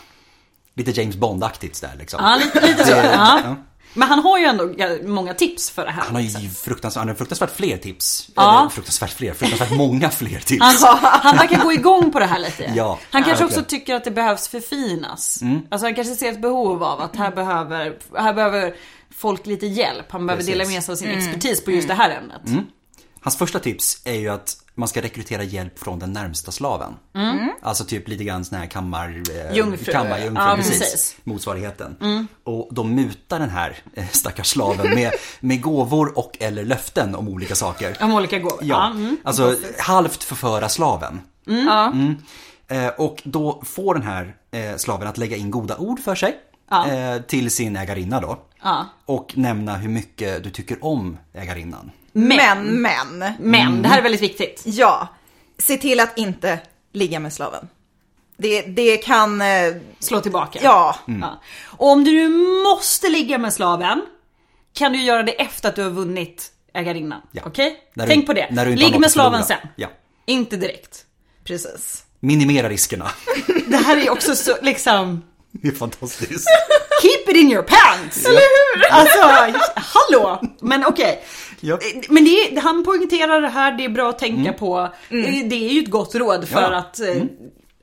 S1: Lite James Bond-aktigt där liksom.
S2: Ja, lite, lite så.
S1: Det-
S2: Ja. Men han har ju ändå ga- många tips för det här.
S1: Han har ju fruktansvärt, han har fruktansvärt fler tips.
S2: Ja.
S1: Eller fruktansvärt fler, fruktansvärt många fler tips.
S2: Han, han verkar gå igång på det här lite.
S1: Ja, Mm.
S2: han kanske också
S1: verkligen.
S2: tycker att det behövs förfinas. Alltså han kanske ser ett behov av att här behöver, här behöver folk lite hjälp. Han behöver
S1: Precis. Mm.
S2: dela med sig av sin expertis på just det här ämnet.
S1: Hans första tips är ju att man ska rekrytera hjälp från den närmsta slaven. Alltså typ lite grann sån här kammar... Eh,
S2: Mm. Jungfru.
S1: Kammarjungfru,
S2: Ja,
S1: precis.
S2: precis. Mm.
S1: Motsvarigheten. Och de mutar den här eh, stackars slaven med, med gåvor och eller löften om olika saker.
S2: Om olika gåvor.
S1: Ja,
S2: Ja. Mm.
S1: alltså halvt förföra slaven.
S3: Ja.
S1: Eh, och då får den här eh, slaven att lägga in goda ord för sig
S2: Ja.
S1: eh, till sin ägarinna då.
S2: Ja.
S1: Och nämna hur mycket du tycker om ägarinnan.
S3: Men, men,
S2: Men
S1: Mm.
S2: det här är väldigt viktigt.
S3: Ja, se till att inte ligga med slaven. Det, det kan, eh,
S2: Slå tillbaka.
S3: ja,
S1: Mm.
S2: Ja. Och om du nu måste ligga med slaven kan du göra det efter att du har vunnit ägarinnan.
S1: Ja.
S2: Okej?
S1: När du-
S2: Tänk på det.
S1: när du inte har
S2: Ligg
S1: något
S2: med
S1: att
S2: slaven sen.
S1: förlora. Ja.
S2: Inte direkt.
S3: precis.
S1: Minimera riskerna.
S2: Det här är också så liksom
S1: Det är fantastiskt.
S2: Keep it in your pants! Eller hur? Alltså, hallå! Men okej.
S1: Japp.
S2: Men det är, han poängterar det här, det är bra att tänka på. Det är ju ett gott råd för
S1: Mm. Ja. Mm.
S2: att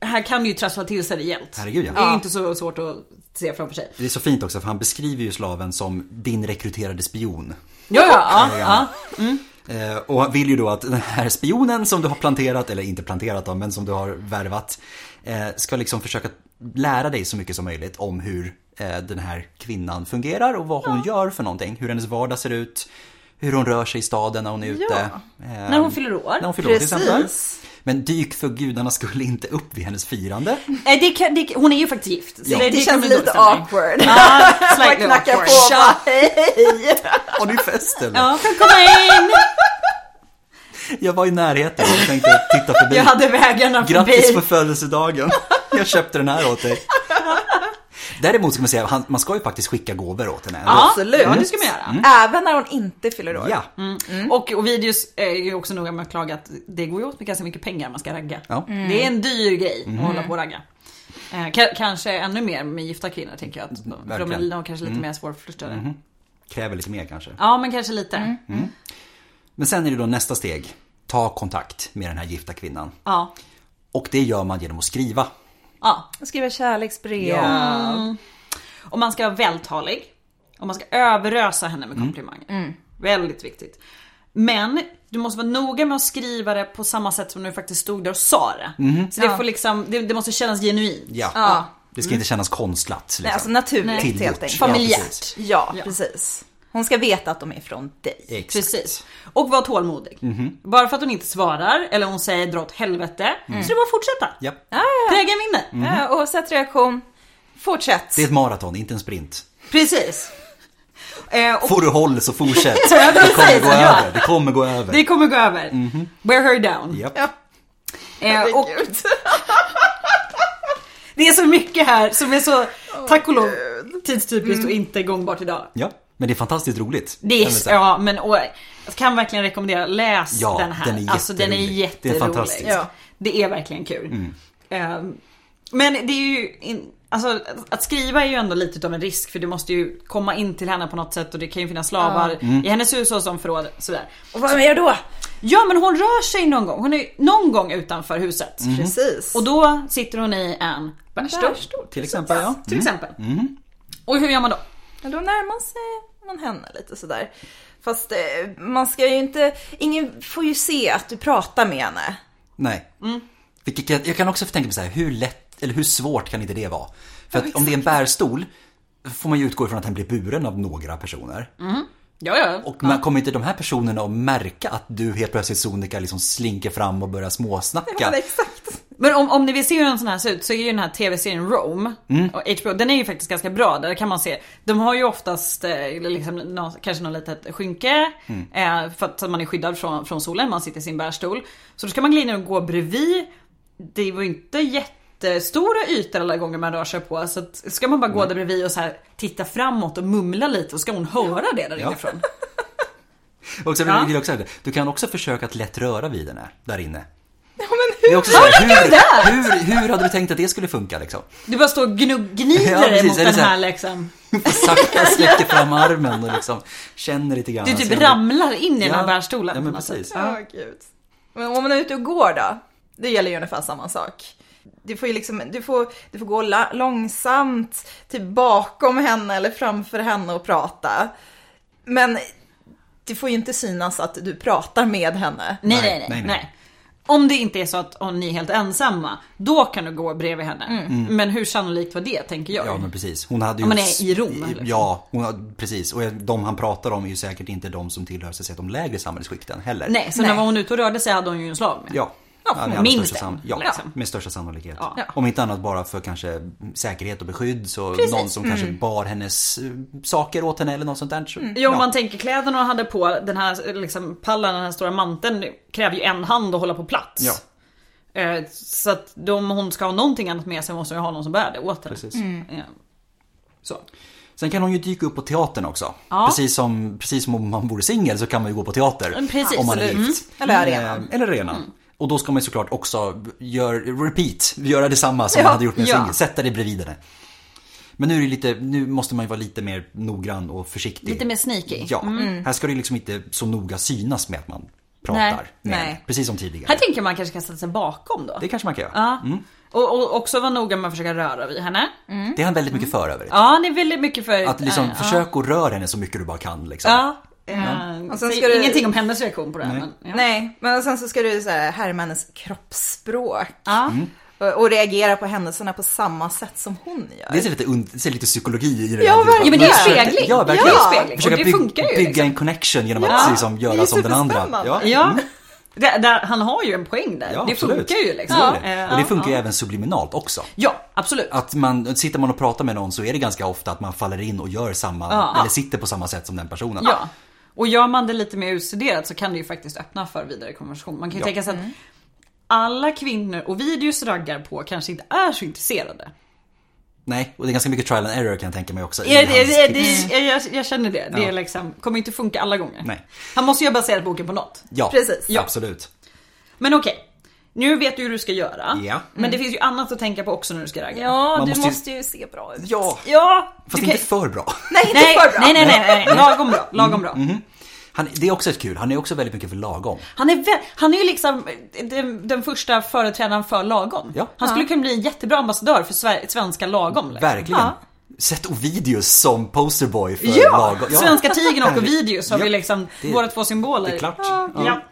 S2: eh, här kan du ju trassla till sig rejält.
S1: Herregud, ja.
S2: Det är ju
S1: Ja.
S2: inte så svårt att se framför sig.
S1: Det är så fint också för han beskriver ju slaven som din rekryterade spion.
S2: Ja, ja, ja. ja.
S1: Ja. Eh, Och han vill ju då att den här spionen som du har planterat, eller inte planterat då, men som du har värvat, eh, ska liksom försöka lära dig så mycket som möjligt om hur eh, den här kvinnan fungerar och vad hon gör för någonting. Hur hennes vardag ser ut, hur hon rör sig i staden när hon är ute. Eh,
S2: När hon fyller år.
S1: När hon fyller år till exempel.
S3: Precis.
S1: Men dyk för gudarna skulle inte upp vid hennes firande.
S2: Nej, det kan, det, hon är ju faktiskt gift. Så
S3: Det,
S2: kan
S3: känns
S2: bli dålig
S3: lite
S2: stämning.
S3: awkward.
S2: Ja,
S3: Bara
S2: slightly
S3: knacka på
S2: awkward.
S3: och bara, hej.
S1: Har ni fest eller?
S2: Ja, kan komma in!
S1: Jag var i närheten och tänkte titta förbi.
S2: Jag hade vägarna
S1: Grattis
S2: förbi.
S1: på födelsedagen. Jag köpte den här åt dig. Däremot ska man säga, han- man ska ju faktiskt skicka gåvor åt henne.
S2: Ja,
S3: Absolut. Mm.
S2: Ja, det ska man göra.
S3: Även när hon inte fyller år.
S1: Ja.
S2: Och Ovidius är ju också noga med att klaga att det går ju åt med ganska mycket pengar om man ska ragga.
S1: Ja.
S3: Mm.
S2: Det är en dyr grej att hålla på och ragga. Eh, ka- kanske ännu mer med gifta kvinnor tänker jag. Att de, för de är
S1: verkligen.
S2: de kanske lite mer svårflörtade.
S1: Kräver lite mer kanske.
S2: Ja men kanske lite.
S3: Mm.
S1: Men sen är det då nästa steg. Ta kontakt med den här gifta kvinnan.
S2: Ja.
S1: Och det gör man genom att skriva.
S2: ja.
S3: Skriva kärleksbrev.
S2: Och man ska vara vältalig. Och man ska överösa henne
S1: Mm.
S2: med komplimanger. Väldigt viktigt. Men du måste vara noga med att skriva det på samma sätt som när du faktiskt stod där och sa det. Så det, får liksom, det, det måste kännas genuint.
S1: Mm-hmm. Ja.
S3: Ja.
S1: Det ska inte kännas konstlat. Liksom.
S3: Nej, alltså naturligt
S2: Nej.
S1: Tillgjort.
S3: helt enkelt.
S1: Ja,
S2: Familjärt.
S1: precis.
S3: Ja,
S2: Ja.
S3: precis. Hon ska veta att de är från dig.
S1: Exakt.
S2: Precis. Och var tålmodig.
S1: Mm-hmm.
S2: Bara för att hon inte svarar eller hon säger dra åt helvete
S1: Mm.
S2: så det är bara att fortsätta.
S1: Ja.
S2: Trägen vinner.
S1: Mm.
S3: Ja, oavsett reaktion, fortsätt.
S1: Det är ett maraton, inte en sprint.
S2: Precis. Eh, och
S1: Får du håll så fortsätt. Det kommer gå över. Mm-hmm. Det kommer gå över.
S2: det kommer gå över. Wear her down.
S1: Japp.
S3: Ja.
S2: Eh, och
S3: Herregud.
S2: det är så mycket här som är så, tack och lov, tidstypiskt
S1: Mm.
S2: och inte gångbart idag.
S1: Ja. Men det är fantastiskt roligt.
S2: Det
S1: kan jag
S2: är,
S1: säga.
S2: ja, men och, jag kan verkligen rekommendera, läs
S1: Ja,
S2: den här.
S1: den är
S2: alltså den är
S1: jätterolig. Det är
S2: jätterolig.
S1: fantastiskt. Mm.
S3: Ja.
S2: Det är verkligen kul. Ehm, men det är ju, in, alltså att- att skriva är ju ändå lite utav en risk för du måste ju komma in till henne på något sätt och det kan ju finnas slavar
S1: Mm.
S2: i hennes hus och som förråd sådär.
S3: Och vad gör jag då?
S2: Ja men hon rör sig någon gång, hon är ju någon gång utanför huset.
S1: Mm.
S3: Precis.
S2: Och då sitter hon i en bärstol.
S1: Till exempel, ja.
S2: Till exempel.
S1: Mm.
S2: Och hur gör man då?
S3: Ja, då närmar sig man henne lite sådär. Fast eh, man ska ju inte, ingen får ju se att du pratar med henne.
S1: Nej.
S2: Mm.
S1: Vilket jag, jag kan också tänka mig så här, hur lätt eller hur svårt kan inte det vara? För att om det är en bärstol får man ju utgå ifrån att den blir buren av några personer.
S2: Ja, Mm. ja.
S1: Och man kommer inte de här personerna att märka att du helt plötsligt Sonika liksom slinker fram och börjar småsnacka?
S3: exakt.
S2: Men om, om ni vill se hur en sån här ser ut så är ju den här tv-serien Rome
S1: Mm.
S2: och HBO, den är ju faktiskt ganska bra. Där kan man se, de har ju oftast eh, liksom, nå- kanske något litet skynke
S1: Mm.
S2: eh, för att man är skyddad från, från solen, man sitter i sin bärstol. Så då ska man glida in och gå bredvid. Det var ju inte jätte jättestora ytor alla gånger man rör sig på. Så att, ska man bara gå där bredvid och så här, titta framåt och mumla lite och ska hon höra det där
S1: Ja.
S2: inifrån.
S1: Och sen
S2: Ja.
S1: vill jag också säga det, du kan också försöka att lätt röra vid den här, där inne.
S3: Ja, men
S1: Det är
S3: hur?
S1: också så här, hur, hur, hur hade du tänkt att det skulle funka liksom?
S2: Du bara står och gnugg- gnider
S1: Ja,
S2: dig
S1: precis,
S2: mot
S1: eller
S2: den
S1: så här-
S2: här liksom.
S1: Sakta sträcker fram armen och liksom känner lite grann.
S2: Du
S1: och
S2: typ
S1: ser om det-
S2: ramlar in i den här
S1: Ja,
S2: bärstolen.
S1: Ja, men
S2: på något
S1: precis.
S2: sätt.
S3: Ja, gud. Men om man är ute och går då? Det gäller ju ungefär samma sak. Du får ju liksom, du får, du får gå la- långsamt, typ bakom henne eller framför henne och prata. Men det får ju inte synas att du pratar med henne.
S2: Nej,
S1: Nej,
S2: nej, nej,
S1: nej,
S2: nej,
S1: nej.
S2: Om det inte är så att om ni är helt ensamma, då kan du gå bredvid henne. Men hur sannolikt var det, tänker jag.
S1: Mm. Ja men precis. Hon hade ju...
S2: Om man är i Rom, eller?
S1: Ja, hon hade, precis. Och de han pratar om är ju säkert inte de som tillhör så att säga, de lägre samhällsskikten heller.
S2: Nej, så
S3: Nej.
S2: när hon ute och rörde sig hade hon ju en slav med.
S1: Ja.
S2: Ja,
S1: med allra
S2: minst
S1: största
S2: en,
S1: sann- ja,
S2: liksom.
S1: med största sannolikhet.
S2: Ja.
S1: Om inte annat bara för kanske säkerhet och beskydd. Så någon som kanske bar hennes eh, saker åt henne eller något sånt där. Så,
S2: Mm. Jo, om
S1: ja.
S2: man tänker kläderna hon hade på, den här liksom, pallen, den här stora manteln kräver ju en hand att hålla på plats.
S1: Ja.
S2: Eh, Så att då om hon ska ha någonting annat med sig måste hon ju ha någon som bär det åt henne.
S1: Precis.
S2: Ja. Så.
S1: Sen kan hon ju dyka upp på teatern också.
S2: Ja.
S1: Precis, som, precis som om man vore singel så kan man ju gå på teater.
S2: Mm, precis.
S1: Om man är
S2: Mm.
S1: gift.
S3: Eller arenan.
S1: Eh, Eller arenan. Och då ska man ju såklart också gör, repeat, göra detsamma som
S3: Ja,
S1: man hade gjort med en
S2: ja.
S1: singel. Sätta dig bredvid henne. Men nu, är det lite, nu måste man ju vara lite mer noggrann och försiktig.
S2: Lite mer sneaky. Mm.
S1: Ja, här ska det liksom inte så noga synas med att man pratar.
S2: Nej,
S1: med
S3: nej.
S1: henne. Precis som tidigare.
S2: Här tänker man kanske kan ställa sig bakom då.
S1: Det Mm. kanske man kan göra.
S2: Ja. Och, och också vara noga med att försöka röra vid henne.
S1: Det är han väldigt mycket för övrigt.
S2: Mm. Ja, ni är väldigt mycket för...
S1: Att liksom,
S2: ja.
S1: försök att röra henne så mycket du bara kan liksom.
S2: Ja. Mm.
S3: Och sen ska du-
S2: Ingenting om hennes reaktion på det här, men, ja.
S3: Nej, men sen så ska du så här, härma hennes kroppsspråk.
S2: Ja.
S3: Och, och reagera på händelserna på samma sätt som hon gör.
S1: Det är så lite, und- det är så lite psykologi i det.
S3: Ja,
S1: där.
S3: verkligen.
S2: Ja men det är
S1: Försöka-
S2: spegling.
S1: Ja,
S2: det är
S1: verkligen.
S2: ju spegling.
S1: Försöka
S2: och det
S1: byg-
S2: funkar ju.
S1: bygga
S2: liksom.
S1: en connection genom att
S3: Ja,
S1: liksom
S3: det är
S1: göra som den andra. Ja.
S3: superspännande.
S2: Ja. Där, där, han har ju en poäng där.
S1: Ja,
S2: det
S1: absolut.
S2: funkar ju liksom.
S1: Det gör det.
S2: Eh,
S1: Och det
S2: ja,
S1: funkar ju
S2: ja.
S1: även subliminalt också.
S2: Ja, absolut.
S1: Att man, sitter man och pratar med någon så är det ganska ofta att man faller in och gör samma,
S2: Ja.
S1: eller sitter på samma sätt som den personen.
S2: Ja. Och gör man det lite mer utstuderat så kan det ju faktiskt öppna för vidare konversation. Man kan ju
S1: Ja.
S2: tänka sig att alla kvinnor och videos raggar på kanske inte är så intresserade.
S1: Nej, och det är ganska mycket trial and error kan jag tänka mig också. i
S2: Jag, jag,
S1: hans typ-
S2: jag,
S1: tips.
S2: jag, jag känner det. Det
S1: Ja.
S2: är liksom, kommer inte funka alla gånger.
S1: Nej.
S2: Han måste ju ha baserat boken på något.
S1: Ja,
S3: Precis.
S1: Ja. absolut.
S2: Men okej, nu vet du hur du ska göra.
S1: Ja.
S2: Men det finns ju annat att tänka på också när du ska ragga.
S3: Ja,
S1: Man
S3: du
S1: måste
S3: måste
S1: ju-
S3: ju... se bra ut.
S1: Ja,
S2: ja
S1: fast
S2: du kan-
S1: inte för bra.
S3: Nej, inte
S2: Nej,
S3: för bra.
S2: nej, nej, nej, nej, lagom bra, lagom bra.
S1: Mhm. Han, det är också ett kul, han är också väldigt mycket för lagom.
S2: Han är, vä- han är ju liksom den, den första företrädaren för lagom.
S1: Ja.
S2: Han skulle kunna bli en jättebra ambassadör för sve- svenska lagom. liksom.
S1: Verkligen.
S2: Ja.
S1: Sett Ovidius som posterboy för
S2: Ja!
S1: lagom.
S2: Svenska tigern och Ovidius har
S1: Ja.
S2: vi liksom
S1: Det-
S2: våra två symboler.
S1: Det är klart.
S2: Ja. Ja.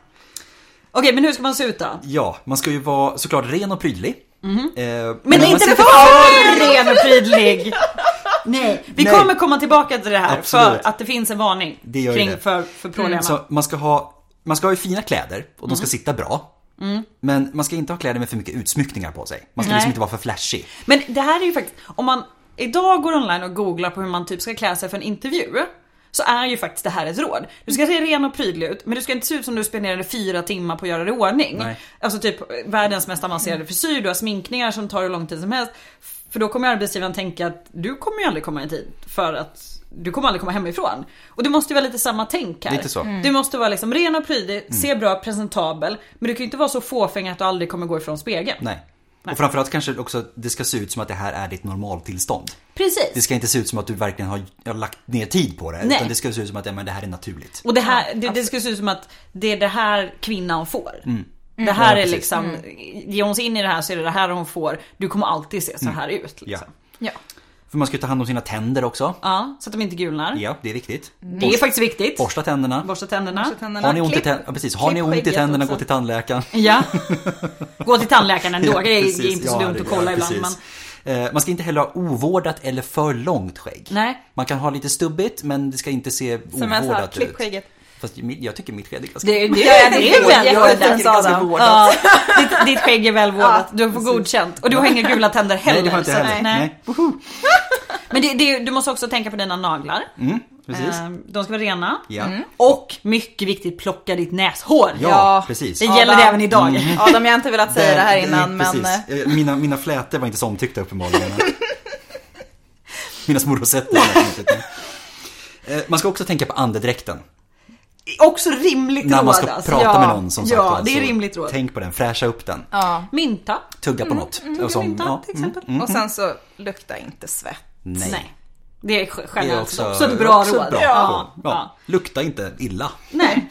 S2: Okej, men hur ska man se ut då?
S1: Ja, man ska ju vara såklart ren och prydlig. Eh, men
S2: Mhm. Men
S1: man
S2: inte
S1: ser-
S2: för ren och prydlig! Nej, vi
S1: Nej.
S2: kommer komma tillbaka till det här
S1: Absolut.
S2: för att det finns en varning
S1: Det gör ju
S2: kring
S1: det. Mm.
S2: för, för problemen.
S1: Så man ska ha, man ska ha ju fina kläder och
S2: Mhm.
S1: de ska sitta bra. Men man ska inte ha kläder med för mycket utsmyckningar på sig. Man ska
S2: Mm. Nej.
S1: liksom inte vara för flashig.
S2: Men det här är ju faktiskt, om man idag går online och googlar på hur man typ ska klä sig för en intervju. Så är ju faktiskt det här ett råd. Du ska se ren och prydlig ut men du ska inte se ut som du spenderade fyra timmar på att göra det i ordning.
S1: Nej.
S2: Alltså typ eh, världens mest avancerade frisyr, du har sminkningar som tar hur lång tid som helst. För då kommer arbetsgivaren tänka att du kommer ju aldrig komma i tid för att du kommer aldrig komma hemifrån. Och det måste ju vara lite samma tänk här.
S1: Lite så. Mm.
S2: Du måste vara liksom ren och prydlig, se bra, presentabel. Men du kan ju inte vara så fåfäng att du aldrig kommer gå ifrån spegeln.
S1: Nej. Och framförallt kanske också att det ska se ut som att det här är ditt normaltillstånd.
S2: Precis.
S1: Det ska inte se ut som att du verkligen har, har lagt ner tid på det.
S2: Nej.
S1: Utan det ska se ut som att ja, men det här är naturligt.
S2: Och det här, det, det skulle se ut som att det är det här kvinnan får. Det här
S1: Mm. Ja,
S2: är
S1: precis.
S2: liksom, ger hon sig in i det här så är det det här hon får. Du kommer alltid se så här ut. Liksom.
S1: Mm. Ja.
S3: Ja.
S1: För man ska ju ta hand om sina tänder också.
S2: Ja, så att de inte gulnar.
S1: Ja, det är viktigt.
S2: Det är faktiskt viktigt.
S1: Borsta tänderna.
S2: Borsta tänderna.
S1: Har ni ont i, tän- ja, precis. Har ni
S3: klipp
S1: ont i
S3: skägget
S1: tänderna,
S3: också.
S1: gå till tandläkaren.
S2: Ja. Gå till tandläkaren ändå.
S1: Ja,
S2: det är
S1: precis.
S2: inte
S1: Ja,
S2: så dumt
S1: det-
S2: att kolla
S1: ja,
S2: ibland. Men,
S1: precis. Eh, Man ska inte heller ha ovårdat eller för långt skägg.
S2: Nej.
S1: Man kan ha lite stubbigt men det ska inte se
S3: Som jag sa,
S1: ovårdat
S3: klipp
S1: ut.
S3: skägget.
S1: Fast mi- jag tycker mitt skägg är ganska...
S2: det, det, det, det är väl
S3: Jag tycker det
S2: vårdat.
S3: är ganska vårdat.
S2: Ja, ditt, ditt skägg är väl vårdat. Du får godkänt. Och du har inga gula tänder heller.
S1: Nej, det har jag inte
S2: så att-
S1: heller.
S2: nej.
S1: Nej. Woho!
S2: Men det, det, du måste också tänka på dina naglar.
S1: Mm, Precis.
S2: Eh, mm. De ska vara rena.
S1: Ja.
S2: Och mycket viktigt, plocka ditt näshår.
S1: Ja,
S3: Ja.
S1: precis. Mm.
S2: Det gäller det
S3: Adam.
S2: även idag.
S3: Adam, jag har inte velat säga det här
S1: Nej,
S3: innan, men...
S1: precis.
S3: eh,
S1: Eh, Mina, mina flätor var inte så omtyckta uppenbarligen. mina små rosetter. var inte omtyckta. Eh, Man ska också tänka på andedräkten.
S2: Också rimligt
S1: När
S2: råd
S1: man ska
S2: alltså.
S1: prata
S2: ja.
S1: med någon som sagt
S2: Ja,
S1: var,
S2: det
S1: så
S2: är rimligt råd.
S1: Tänk på den, fräscha upp den.
S3: Ja.
S2: Mynta.
S1: Tugga på något.
S2: Tugga
S1: Och som-
S2: mynta
S1: ja, mm,
S2: till exempel.
S3: Och sen så lukta inte svett.
S1: Nej.
S2: Nej. Det är sj-
S1: Det
S2: generellt
S1: är
S2: också,
S1: också,
S2: ett bra
S1: också
S2: råd.
S1: ett bra
S2: ja.
S1: råd.
S2: Ja.
S1: Ja. Lukta inte illa.
S2: Nej.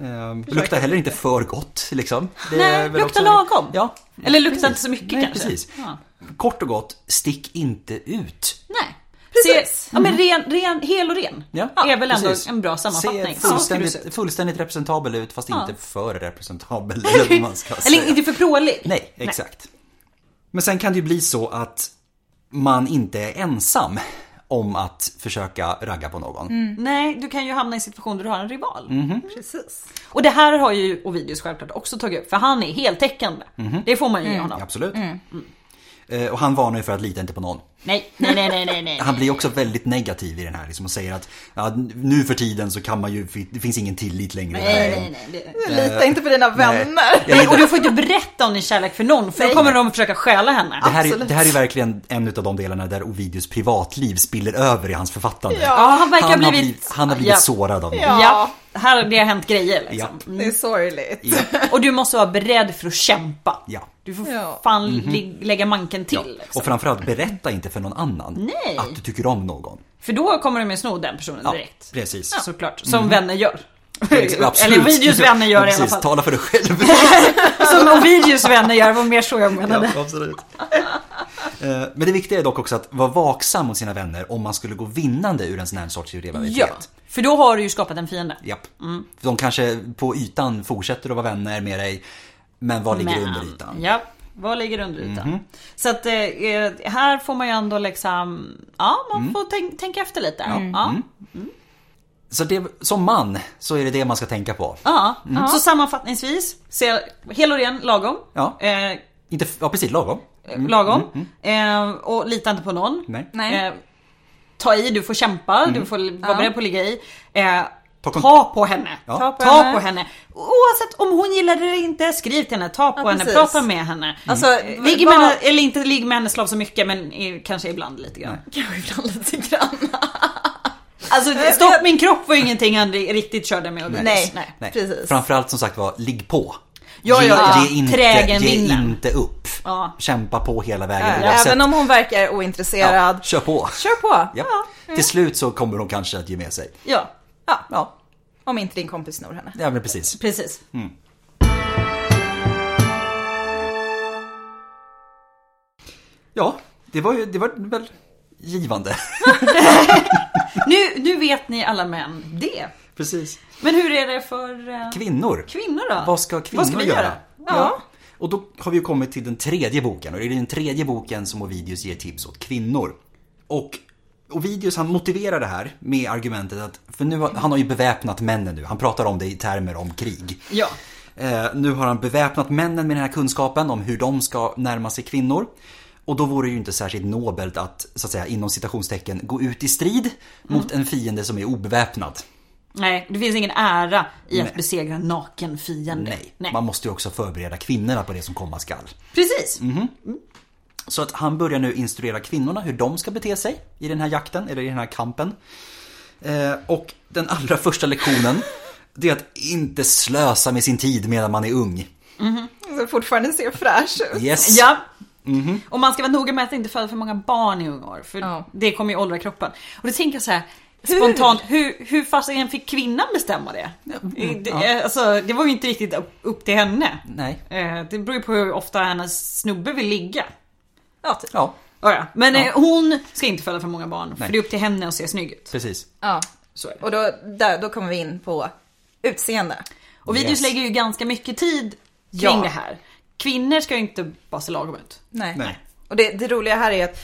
S1: Ehm, lukta heller inte för gott liksom. Det är
S2: Nej,
S1: väl
S2: lukta
S1: också-
S2: lagom.
S1: Ja.
S2: Eller lukta inte så mycket
S1: Nej,
S2: kanske.
S1: precis.
S2: Ja.
S1: Kort och gott, stick inte ut.
S2: Nej.
S3: Precis.
S2: Se, ja, men ren, ren, hel och ren är väl
S1: Mm. precis.
S2: ändå en bra sammanfattning.
S1: Se
S2: Så ska du se
S1: fullständigt,
S2: ut.
S1: fullständigt representabel ut fast
S2: Ja.
S1: inte för representabel. Eller vad man ska säga.
S2: Eller inte för prålig.
S1: Nej, exakt. Men sen kan det ju bli så att man inte är ensam om att försöka ragga på någon.
S2: Nej, du kan ju hamna i en situation där du har en rival.
S3: Precis.
S2: Och det här har ju Ovidius självklart också tagit upp för han är heltäckande.
S1: Mhm.
S2: Det får man ju ge honom.
S1: Absolut. Eh, Och han varnar ju för att lita inte på någon.
S2: Nej, nej, nej, nej, nej, nej.
S1: Han blir också väldigt negativ i den här liksom, och säger att ja, nu för tiden så kan man ju, det finns ingen tillit längre.
S2: nej, nej, nej, nej.
S1: Eh,
S3: Lita inte på dina vänner.
S1: Jag
S2: Nej,
S1: vet
S2: och
S1: inte.
S2: du får inte berätta om din kärlek för någon för då
S3: Nej.
S2: kommer de att försöka stjäla henne.
S1: Det här, är,
S3: Absolut.
S1: det här är verkligen en av de delarna där Ovidius privatliv spiller över i hans författande.
S3: Ja.
S2: Ja, han verkar
S1: han,
S2: ha
S1: har
S2: blivit...
S1: blivit, han har blivit
S2: ja.
S1: sårad av
S3: Ja.
S1: det.
S2: Ja, här har det hänt grejer liksom.
S1: Ja.
S3: Det är sorgligt.
S2: Och du måste vara beredd för att kämpa.
S1: Ja. Mhm.
S2: Du får
S3: Ja.
S2: fan lig- lägga manken till. Liksom.
S1: Och framförallt, berätta inte för någon annan
S2: Nej.
S1: att du tycker om någon.
S2: För då kommer de ju sno den personen
S1: Ja,
S2: direkt.
S1: precis. Mhm.
S2: Såklart, som vänner gör.
S1: Absolut.
S2: Eller Ovidius vänner gör
S1: Ja,
S2: i alla
S1: precis.
S2: fall.
S1: Tala för dig själv.
S2: Som Ovidius vänner gör, var mer så jag menade.
S1: Ja, absolut. Eh, Men det viktiga är dock också att vara vaksam mot sina vänner om man skulle gå vinnande ur en sån här sorts rivalitet.
S2: Ja, för då har du ju skapat en fiende.
S1: Japp. De kanske på ytan fortsätter att vara vänner med dig, men vad ligger under ytan? Mhm.
S2: Ja, vad ligger under ytan? Så att eh, här får man ju ändå liksom, ja man
S1: Mm.
S2: får tänk, tänka efter lite. Ja.
S1: Så det, som man så är det det man ska tänka på.
S2: Ja. Så sammanfattningsvis, se, hel och ren, lagom.
S1: Mm. Ja.
S2: Eh,
S1: Inte, f- ja, precis lagom.
S2: lagom. Eh, och lita inte på någon.
S1: Mm. Nej.
S3: Nej.
S2: Eh, ta i, du får kämpa, du får li- vara beredd på att ligga i. Eh,
S1: Ta
S2: Ta,
S1: kon-
S2: på henne.
S1: Ja.
S2: Ta, på,
S3: Ta
S2: henne.
S3: på
S2: Oavsett om hon gillar det eller inte, skriv till henne, ta på
S3: Ja,
S2: henne,
S3: precis.
S2: prata med henne.
S3: Alltså,
S2: Eh, Ligg med
S3: bara-
S2: henne, eller inte ligg med henne slav så mycket men eh, kanske ibland lite grann.
S3: Kanske ibland lite grann.
S2: Alltså
S3: vet.
S2: stopp min kropp var ju ingenting han ri- riktigt körde med. och
S3: Nej.
S2: Nej.
S1: Nej.
S3: Precis.
S1: Framförallt som sagt var, ligg på.
S2: Ja, ja, ja.
S1: Ge, ge, inte,
S2: Trägen
S1: ge
S2: vinner.
S1: inte upp.
S2: Ja.
S1: Kämpa på hela vägen oavsett.
S3: Även om hon verkar ointresserad.
S1: ja, kör på.
S3: Kör på.
S1: Ja. Till slut så kommer de kanske att ge med sig.
S2: Ja,
S3: Ja.
S1: Ja,
S3: Om inte din kompis snor henne.
S1: ja men precis.
S2: precis.
S1: Ja, det var ju det var väl givande.
S2: Nu, nu vet ni alla män det.
S1: Precis.
S2: Men hur är det för eh,
S1: Kvinnor.
S2: kvinnor då?
S1: Vad ska kvinnor
S2: vi
S1: göra?
S2: Ja.
S1: Och då har vi ju kommit till den tredje boken och det är den tredje boken som Ovidius ger tips åt kvinnor. Och Ovidius han motiverar det här med argumentet att, för nu har, han har ju beväpnat männen nu, han pratar om det i termer om krig.
S2: ja.
S1: Eh, nu har han beväpnat männen med den här kunskapen om hur de ska närma sig kvinnor. Och då vore det ju inte särskilt nobelt att, så att säga, inom citationstecken, gå ut i strid mot en fiende som är obeväpnad.
S2: Nej, det finns ingen ära i att
S1: Nej.
S2: besegra en naken fiende.
S1: Nej. man måste ju också förbereda kvinnorna på det som komma skall.
S2: Precis.
S1: Mhm. Så att han börjar nu instruera kvinnorna hur de ska bete sig i den här jakten, eller i den här kampen. Eh, och den allra första lektionen, det är att inte slösa med sin tid medan man är ung.
S3: Så fortfarande ser fräsch ut.
S1: Yes!
S2: Ja.
S1: Mhm.
S2: Och man ska vara noga med att inte föda för många barn i unga år. För
S3: Ja.
S2: det kommer ju åldra kroppen. Och då tänker jag så här. Spontant, hur, hur fasiken fick kvinnan bestämma det? det, alltså, det var ju inte riktigt upp- upp till henne.
S1: Nej.
S2: Eh, Det beror ju på hur ofta hennes snubbe vill ligga.
S3: Ja, typ.
S1: Ja,
S2: Ja, ja. Men eh, hon ska inte föda för många barn,
S1: Nej.
S2: för det är upp till henne att se snygg ut.
S1: precis.
S3: ja.
S2: Så är det.
S3: Och då, där, då kommer vi in på utseende.
S2: Och Videos
S1: Yes.
S2: lägger ju ganska mycket tid kring
S3: Ja.
S2: det här. Kvinnor ska ju inte bara se lagom ut.
S3: Nej.
S1: Nej.
S3: Och det, det roliga här är att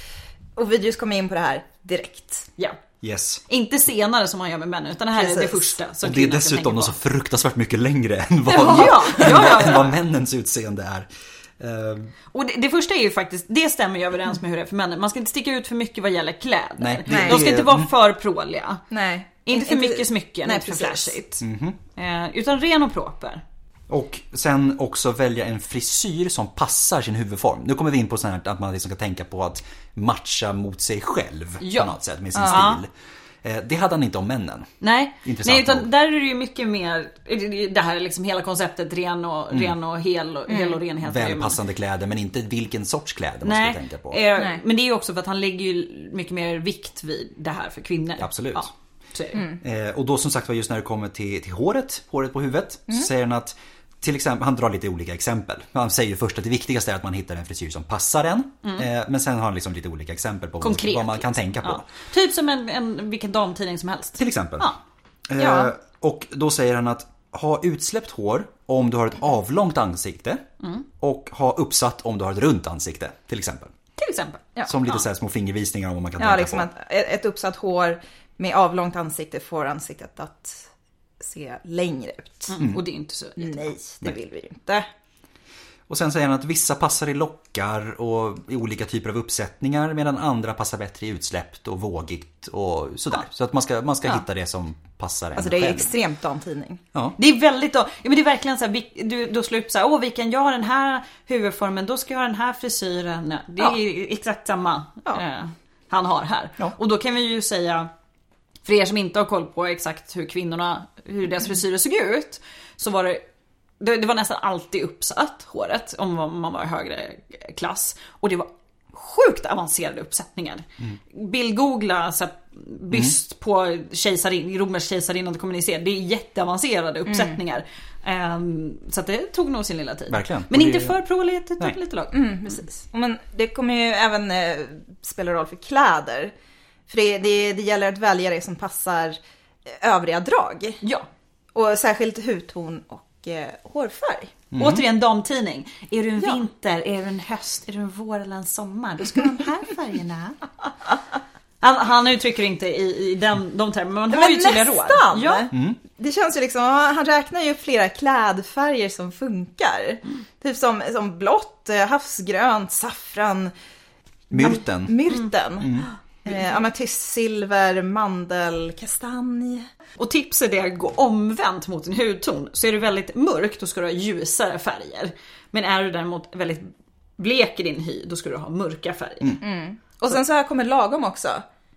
S3: Ovidius kommer in på det här direkt.
S2: Ja.
S1: Yes.
S2: Inte senare som man gör med männen, utan det här är det
S3: Precis.
S2: första som
S1: Och det är
S2: kvinnan ska tänka
S1: dessutom
S2: på.
S1: så fruktansvärt mycket längre än vad,
S2: Ja, ja,
S1: än vad,
S2: ja, ja.
S1: Än vad männens utseende är. Eh,
S2: Och det, det första är ju faktiskt, det stämmer ju överens med hur det är för männen. Man ska inte sticka ut för mycket vad gäller kläder.
S1: Nej,
S3: det-
S2: De ska
S1: det-
S2: inte vara för pråliga.
S3: Nej.
S2: Inte för mycket smycken,
S3: Nej,
S2: inte för
S3: precis.
S2: flashigt.
S1: Mhm.
S2: Eh, utan ren och proper.
S1: Och sen också välja en frisyr som passar sin huvudform. Nu kommer vi in på sånt här att man liksom ska tänka på att matcha mot sig själv
S2: Ja.
S1: på något sätt med sin
S2: Ja.
S1: stil. Eh, Det hade han inte om männen.
S2: Nej,
S1: Intressant
S2: Nej utan
S1: nog.
S2: där är det ju mycket mer, det här är liksom hela konceptet ren och, ren och hel, och, hel och
S1: Mm.
S2: renhet. är ju-
S1: Välpassande kläder men inte vilken sorts kläder man
S2: Nej,
S1: ska tänka på.
S2: eh,
S3: Nej.
S2: men det är ju också för att han lägger ju mycket mer vikt vid det här för kvinnor.
S1: Absolut.
S2: Ja, så är det.
S3: Mm.
S2: ju.
S1: Eh, och då som sagt var just när det kommer till, till håret, håret på huvudet,
S2: Mm.
S1: så säger han att till exempel, han drar lite olika exempel. Han säger ju först att det viktigaste är att man hittar en frisyr som passar en. Eh, men sen har han liksom lite olika exempel på vad-
S2: Mm. Konkret.
S1: vad man kan
S2: liksom.
S1: tänka på.
S2: Ja. Typ som en, en, vilken damtidning som helst.
S1: Till exempel.
S2: Ja.
S1: Eh,
S3: Ja.
S1: Och då säger han att ha utsläppt hår om du har ett avlångt ansikte
S3: Mm.
S1: och ha uppsatt om du har ett runt ansikte till exempel.
S2: Till exempel.
S3: Ja.
S1: Som lite så här små fingervisningar om vad man kan
S3: Ja,
S1: tänka
S3: liksom
S1: på.
S3: att ett ett uppsatt hår med avlångt ansikte får ansiktet att se längre ut.
S2: Mm.
S1: Mm.
S2: Och det är ju inte så
S3: Nej, det vill vi ju inte.
S1: Och sen säger han att vissa passar i lockar och i olika typer av uppsättningar medan andra passar bättre i utsläppt och vågigt och sådär. Så att man ska, man ska hitta det som passar en
S3: Alltså det är ju
S1: själv.
S3: extremt damtidning.
S1: Ja.
S2: Det är väldigt då, ja, men det är verkligen så här, vi- du, då slår upp så här, åh vilken, jag har den här huvudformen, då ska jag ha den här frisyren. Det är
S3: Ja.
S2: ju exakt samma
S3: Ja.
S2: eh, han har här.
S1: Ja.
S2: Och då kan vi ju säga, för er som inte har koll på exakt hur kvinnorna, hur deras frisyrer såg ut, så var det det, det var nästan alltid uppsatt håret om man- man var i högre klass. Och det var sjukt avancerade uppsättningar.
S1: Mm.
S2: Bildgoogla så här, byst på kejsarin, romersk kejsarinna kommunicera. Det är jätteavancerade
S3: Mm.
S2: uppsättningar. Ehm, så att det tog nog sin lilla tid.
S1: Verkligen.
S2: Men
S1: Och
S2: inte
S1: det-
S2: för pråligt utan
S1: Nej.
S2: lite lagom.
S3: Mm, precis. Och Men det kommer ju även eh, spela roll för kläder. För det, det, det gäller att välja det som passar eh, övriga drag.
S2: Ja.
S3: Och särskilt hudton och eh, hårfärg.
S2: Återigen damtidning. Är du en
S3: Ja.
S2: vinter, är du en höst, är du en vår eller en sommar? Då ska du ha de här färgerna. Han, han uttrycker inte i, i den, de termerna, men han har ju tydliga råd.
S3: nästan!
S2: Ja.
S3: Det känns ju liksom, han räknar ju flera klädfärger som funkar. Typ som, som blått, eh, havsgrönt, saffran,
S1: Myrten.
S3: myrten. Eh, Amatystsilver, mandel, kastanj.
S2: Och tipset är att gå omvänt mot en hudton. Så är du väldigt mörk då ska du ha ljusare färger. Men är du däremot väldigt blek i din hy då ska du ha mörka färger.
S3: Och sen så här kommer lagom också.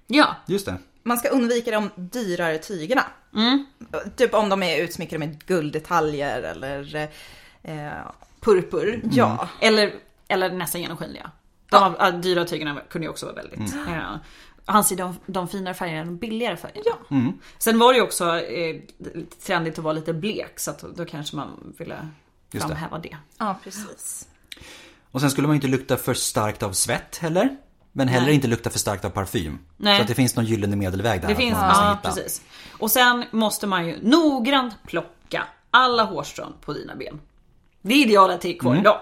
S2: Ja,
S1: Just det.
S3: Man ska undvika de dyrare tygerna. Typ om de är utsmyckade med gulddetaljer eller eh,
S2: purpur.
S3: ja.
S2: Eller, eller nästan genomskinliga. De av- av dyra tygerna kunde ju också vara väldigt.
S1: Mm.
S2: Ja. Han ser de, de finare färgerna, de billigare färgerna.
S1: Mm.
S2: Sen var det ju också eh, lite trendigt att vara lite blek så att då kanske man ville
S1: Just det.
S2: framhäva det.
S3: Ja, precis.
S1: Och sen skulle man ju inte lukta för starkt av svett heller. Men heller inte lukta för starkt av parfym.
S2: Nej.
S1: Så att det finns någon gyllene medelväg där.
S2: Det
S1: att
S2: finns,
S1: man måste
S2: ja
S1: hitta.
S2: precis. Och sen måste man ju noggrant plocka alla hårstrån på dina ben. Det är idealet till
S1: Mm.
S2: kvar idag.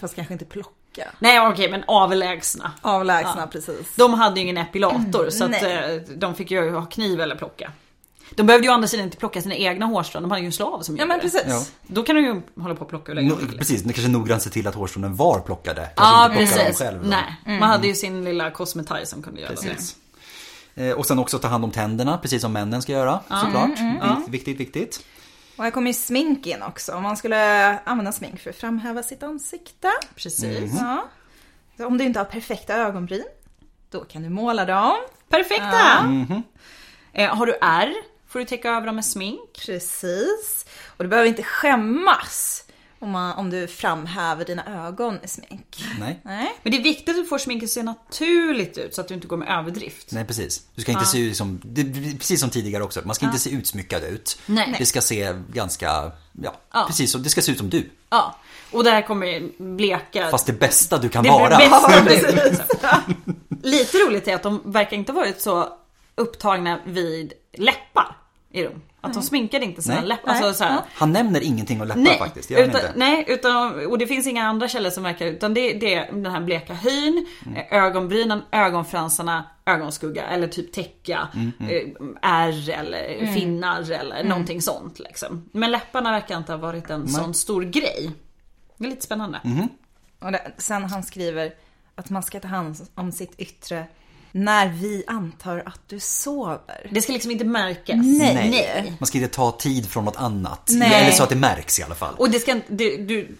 S3: Fast kanske inte plocka.
S2: Nej okej men avlägsna.
S3: Avlägsna, precis.
S2: De hade ju ingen epilator så att
S3: Mm, Nej.
S2: eh, de fick ju ha kniv eller plocka. De behövde ju å andra sidan inte plocka sina egna hårstrån, de hade ju en slav som
S3: Ja, men precis.
S1: Ja.
S2: Då kan de ju hålla på och plocka hur länge de
S1: No,
S2: vill.
S1: precis, kanske noggrant se till att hårstrån var plockade. Kanske
S2: Ja
S1: inte plocka dem
S2: precis.
S1: själv.
S2: Nej,
S3: Mm.
S2: man hade ju sin lilla kosmetaj som kunde göra
S1: Precis. Eh, Och sen också ta hand om tänderna, precis som männen ska göra såklart.
S2: Mm,
S1: Vikt- Viktigt, viktigt.
S3: Och här kommer ju smink in också. Om man skulle använda smink för att framhäva sitt ansikte.
S2: det. Precis.
S3: Ja. Så om du inte har perfekta ögonbryn, då kan du måla dem.
S2: Perfekta!
S1: Mhm.
S2: Eh, har du ärr får du täcka över dem med smink.
S3: Precis. Och du behöver inte skämmas om, man, om du framhäver dina ögon i smink.
S1: Nej.
S3: Nej.
S2: Men det är viktigt att du får sminket att se naturligt ut så att du inte går med överdrift.
S1: Nej precis. Du ska inte se ut som, det, det- precis som tidigare också, man ska inte se utsmyckad ut.
S2: Nej.
S1: Det ska se ganska, ja,
S2: Ja.
S1: precis som, det ska se ut som du.
S2: Ja. Och där kommer ju bleka...
S1: Fast det bästa du kan
S2: det
S1: vara.
S2: bästa du. Lite roligt är att de verkar inte ha varit så upptagna vid läppar i dem. Att de sminkade inte sina
S1: Nej.
S2: läppar. Alltså,
S3: Nej.
S2: så här,
S3: Ja.
S1: Han nämner ingenting om läppar
S2: Nej,
S1: faktiskt, det gör han
S2: utan,
S1: inte.
S2: nej utan, och det finns inga andra källor som verkar utan det, det är den här bleka hyn,
S1: Mm.
S2: eh, ögonbrynen, ögonfransarna, ögonskugga eller typ täcka,
S1: Mm-hmm.
S2: eh, ärr eller finnar eller någonting sånt.
S1: Mm-hmm.
S2: Liksom. Men läpparna verkar inte ha varit en sån stor grej. Det är lite spännande.
S3: Och det, sen han skriver att man ska ta hand om sitt yttre när vi antar att du sover.
S2: Det ska liksom inte märkas.
S3: Nej.
S1: Man ska inte ta tid från något annat.
S3: Nej.
S1: Eller så att det märks i alla fall.
S2: Och det ska inte- du, du,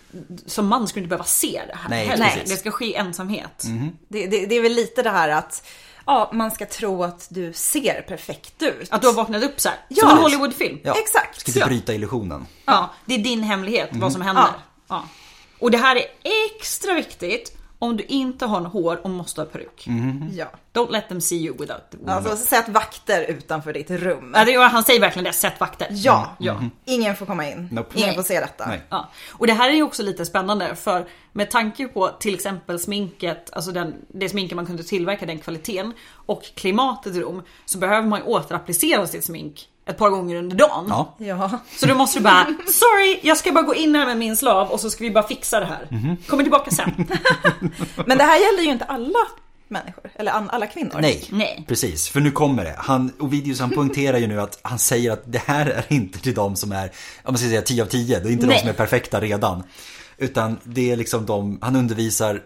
S2: som man ska du inte behöva se det här
S1: Nej,
S2: heller.
S1: precis.
S2: Det ska ske i ensamhet.
S3: Det, det, det är väl lite det här att ja, man ska tro att du ser perfekt ut.
S2: Att du har vaknat upp så här.
S3: Ja.
S2: Som en Hollywoodfilm.
S1: Ja,
S3: exakt,
S1: Ska inte
S3: ja.
S1: bryta illusionen.
S2: Ja, det är din hemlighet, vad som händer.
S3: Ja.
S2: Ja. Och det här är extra viktigt om du inte har en hår och måste ha peruk.
S3: Ja.
S2: Don't let them see you without the
S3: Alltså sätt vakter utanför ditt rum.
S2: Ja, det gör- Han säger verkligen det, sätt vakter.
S3: Ja, Mhm.
S2: Ja.
S3: ingen får komma in.
S1: Nope.
S3: Ingen
S2: Nej.
S3: får se detta.
S1: Nej.
S2: Ja. Och det här är ju också lite spännande för med tanke på till exempel sminket, alltså den, det sminket man kunde tillverka, den kvaliteten och klimatet i Rom så behöver man ju återapplicera sitt smink ett par gånger under dagen.
S1: Ja.
S3: Ja.
S2: Så då måste du bara, sorry jag ska bara gå in här med min slav och så ska vi bara fixa det här.
S1: Mhm.
S2: Kommer tillbaka sen.
S3: Men det här gäller ju inte alla människor, eller an- alla kvinnor.
S1: Nej.
S2: Nej.
S1: precis. För nu kommer det. Han, Ovidius han poängterar ju nu att han säger att det här är inte till de som är, om man ska säga 10 av 10, det är inte
S2: Nej.
S1: de som är perfekta redan. Utan det är liksom de, han undervisar,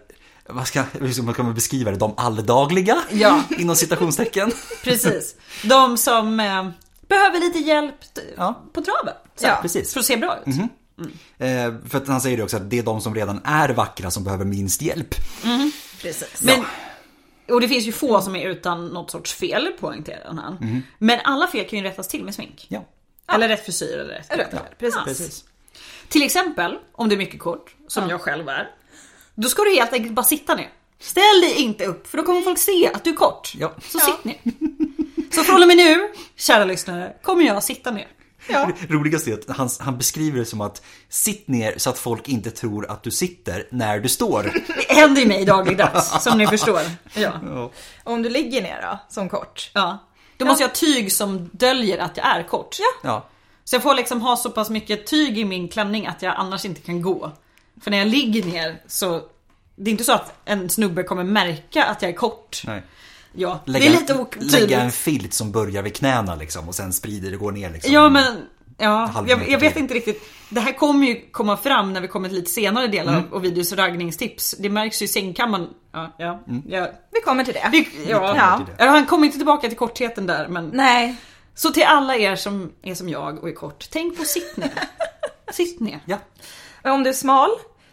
S1: vad ska, hur ska man kunna beskriva det, de alldagliga?
S2: Ja.
S1: Inom citationstecken.
S2: Precis. De som eh, behöver lite hjälp t-
S1: Ja.
S2: på traven. Så
S3: Ja,
S2: här,
S1: precis. Mhm.
S2: För att se bra ut.
S1: Eh, för att han säger ju också att det är de som redan är vackra som behöver minst hjälp.
S3: Precis.
S2: Men, och det finns ju få som är utan något sorts fel poängterar han. Men alla fel kan ju rättas till med smink.
S1: Mhm. Ja,
S2: Eller rätt frisyr eller rätt,
S3: Rätt kläder, precis.
S1: precis.
S2: Till exempel, om du är mycket kort, som jag själv är. Då ska du helt enkelt bara sitta ner. Ställ dig inte upp för då kommer folk se att du är kort.
S1: Ja.
S2: Så sitt ner. Så från och med nu, kära lyssnare, kommer jag sitta ner.
S3: Ja.
S1: Roligast är att han, han beskriver det som att sitt ner så att folk inte tror att du sitter när du står.
S2: Det händer ju mig dagligdags, som ni förstår. Ja.
S3: Och om du ligger ner då, som kort.
S2: Ja. Då måste jag ha tyg som döljer att jag är kort.
S1: Ja.
S2: Så jag får liksom ha så pass mycket tyg i min klänning att jag annars inte kan gå. För när jag ligger ner så det är inte så att en snubbe kommer märka att jag är kort.
S1: Nej.
S2: Ja,
S1: Lägga,
S2: det är lite
S1: lägga en
S2: otydligt.
S1: filt som börjar vid knäna liksom och sen sprider det och går ner liksom.
S2: Ja men, ja,
S1: halv
S2: jag,
S1: meter
S2: jag vet
S1: till.
S2: inte riktigt. Det här kommer ju komma fram när vi kommer till lite senare delar
S1: Mm.
S2: av Ovidius raggningstips. Det märks ju i sängkammaren. Ja, ja, ja.
S3: Vi kommer till det.
S2: Vi-
S1: Mm.
S2: ja.
S1: kommer till det.
S2: ja. Han kommer inte tillbaka till kortheten där men
S3: Nej,
S2: Så till alla er som är som jag och är kort, tänk på sitt ner. sitt ner.
S1: Ja.
S3: men om du är smal,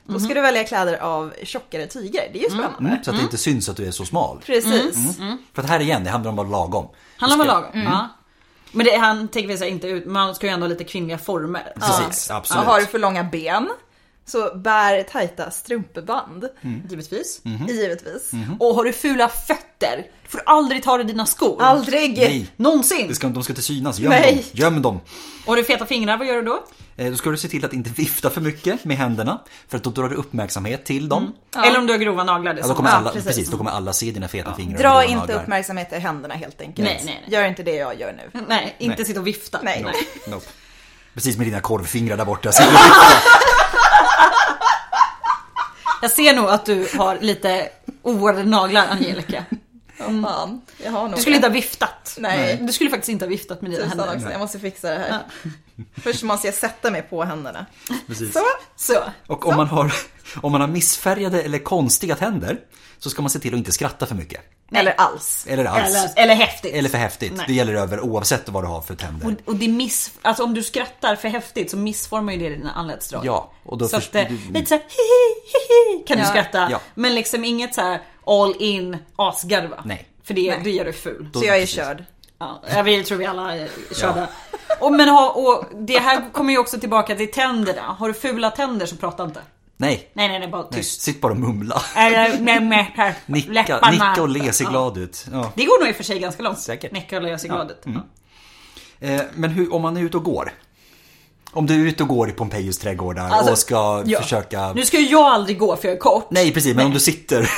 S3: då
S2: Mhm.
S3: ska du välja kläder av tjockare tyger. Det är ju spännande.
S1: Mm, så att det inte syns att du är så smal.
S3: Precis.
S2: Mm.
S1: För att här igen, det handlar om att vara lagom.
S2: Handlar om att
S1: Du ska-
S2: lagom. Ja. Men det, han tänker väl så här, inte ut, man ska ju ändå ha lite kvinnliga
S1: Mm.
S2: former. Alltså,
S1: Precis,
S3: Ja,
S1: absolut.
S3: har du för långa ben, så bär tajta strumpeband.
S2: Mm. Givetvis.
S3: Givetvis.
S2: Och har du fula fötter, då får du aldrig ta dig dina skor.
S3: Aldrig!
S1: Nej,
S2: Någonsin!
S1: det ska, de ska inte synas. Göm
S3: Nej.
S1: dem. Göm dem.
S2: Och har du feta fingrar, vad gör du då?
S1: Eh, Då ska du se till att inte vifta för mycket med händerna. För att då drar du uppmärksamhet till dem.
S2: Eller om du har grova naglar.
S1: Ja, då, kommer
S2: ja,
S1: alla,
S3: precis.
S1: precis. då kommer alla se dina feta fingrar. och
S3: Dra
S1: dina
S3: inte
S1: naglar.
S3: uppmärksamhet i händerna helt enkelt.
S2: Nej, nej, nej.
S3: Gör inte det jag gör nu.
S2: Nej, inte
S1: Nej.
S2: sitta och vifta.
S3: Nej.
S1: Nope, nope. Precis med dina korvfingrar där borta. Så jag-
S2: Jag ser nog att du har lite oordnade naglar, Angelica.
S3: Mm. Fan, jag har nog
S2: Du skulle inte
S3: det.
S2: ha viftat.
S3: Nej.
S2: Du skulle faktiskt inte ha viftat med dina
S3: Tusan
S2: händer.
S3: också, jag måste fixa det här. Först måste jag sätta mig på händerna.
S1: Precis.
S3: Så,
S2: Så.
S1: Och om man, har, om man har missfärgade eller konstiga tänder så ska man se till att inte skratta för mycket.
S3: eller alls.
S1: Eller alls. Eller,
S2: Eller, eller häftigt.
S1: för häftigt.
S2: Nej.
S1: Det gäller över oavsett vad du har för tänder.
S2: Och, och det miss, alltså om du skrattar för häftigt så missformar ju det dina anletsdrag.
S1: Ja, och då
S2: så att,
S1: först-
S2: eh, lite såhär hihi, hihi kan
S3: Ja.
S2: du skratta.
S1: Ja.
S2: Men liksom inget så här all in asgarva.
S1: Nej.
S2: För det,
S3: Nej.
S2: då gör du ful.
S1: Då-
S3: Så jag är
S1: precis.
S3: körd.
S2: Ja, jag vill, tror vi alla eh, körda. Och, men ha, och det här kommer ju också tillbaka till tänderna. Har du fula tänder så prata inte.
S1: Nej.
S2: Nej, nej, nej, bara
S1: Nej.
S2: tyst.
S1: Sitt bara och mumla.
S2: Eller med, med här,
S1: Nicka,
S2: Äh, läpparna.
S1: nicka och le, se
S2: Ja.
S1: glad ut. Ja.
S2: Det går nog i och för sig ganska långt.
S1: Säkert. Mm.
S2: Nicka och le sig glad ut. Ja.
S1: Eh, Men hur, om man är ute och går? Om du är ute och går i Pompejus trädgårdar
S2: Alltså,
S1: och ska
S2: ja.
S1: försöka...
S2: Nu ska ju jag aldrig gå för jag är kort.
S1: Nej precis, men om du sitter...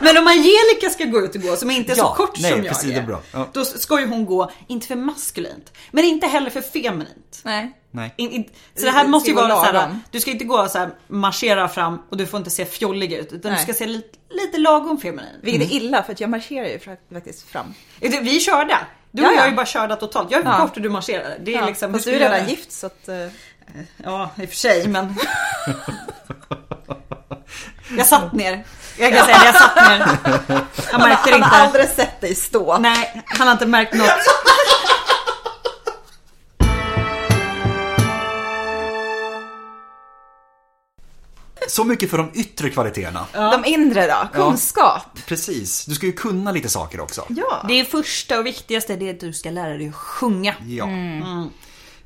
S2: Men om Angelica ska gå ut och gå som inte är
S1: Ja,
S2: så kort
S1: nej,
S2: som jag
S1: precis,
S2: är.
S1: det är bra. Ja.
S2: Då ska ju hon gå, inte för maskulint, men inte heller för feminint.
S3: Nej.
S1: Nej.
S2: In, in, så det här
S3: Det
S2: måste ju
S3: ska gå
S2: vara såhär,
S3: lagom.
S2: du ska inte gå såhär marschera fram och du får inte se fjollig ut utan
S3: Nej.
S2: du ska se lite, lite lagom feminin. Vi,
S3: Vilket är illa för att jag marscherar ju fra- faktiskt fram.
S2: vi är körda. Du och
S3: Ja, ja.
S2: jag är ju bara körda totalt. Jag är
S3: Ja.
S2: kort och du marscherar. Det är
S3: Ja,
S2: liksom,
S3: fast
S2: hur
S3: du är
S2: skulle jag
S3: redan
S2: göra?
S3: gift så att... eh,
S2: Ja, i och för sig men. Jag satt ner. Jag kan säga det, jag satt ner. Han märkte det
S3: Han har
S2: inte.
S3: aldrig sett dig stå.
S2: Nej, han har inte märkt något.
S1: Så mycket för de yttre kvaliteterna.
S3: De inre då? Kunskap?
S1: Precis, du ska ju kunna lite saker också.
S3: Ja.
S2: Det är första och viktigaste, det är att du ska lära dig att sjunga.
S1: Ja.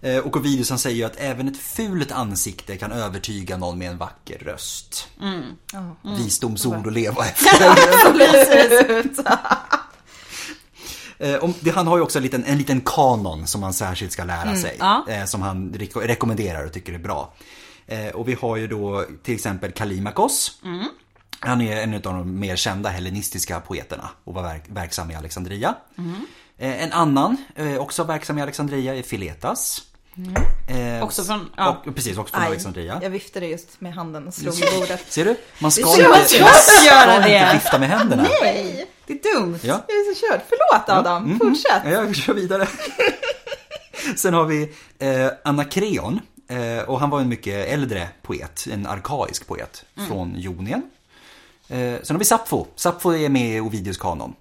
S1: Eh, Och Ovidius han säger ju att även ett fult ansikte kan övertyga någon med en vacker röst. Visdomsord att leva efter. Eh, om- det- han har ju också en liten, en liten kanon som han särskilt ska lära sig.
S2: Mm, ja.
S1: eh, Som han reko- rekommenderar och tycker är bra. Eh, Och vi har ju då till exempel Kalimakos.
S2: Mm.
S1: Han är en av de mer kända hellenistiska poeterna och var verk- verksam i Alexandria.
S2: Mm.
S1: Eh, En annan, eh, också verksam i Alexandria, är Filetas. Eh,
S2: Mm. Också från- ja.
S1: och, precis, också från Alexandria.
S3: jag viftade just med handen och slog i bordet.
S1: Ser du? Man ska
S3: Jag
S1: inte, man
S3: ska
S2: göra
S1: ska inte
S2: det.
S1: vifta med händerna.
S3: Nej,
S2: Det är dumt.
S1: Ja. Mm-hmm.
S3: jag är så körd. Förlåt Adam, fortsätt.
S1: Ja, jag kör vidare. Sen har vi eh, Anakreon. Eh, och han var en mycket äldre poet, en arkaisk poet
S2: Mm.
S1: från Jonien. Eh, sen har vi Sappho. Sappho är med i Ovidius kanon.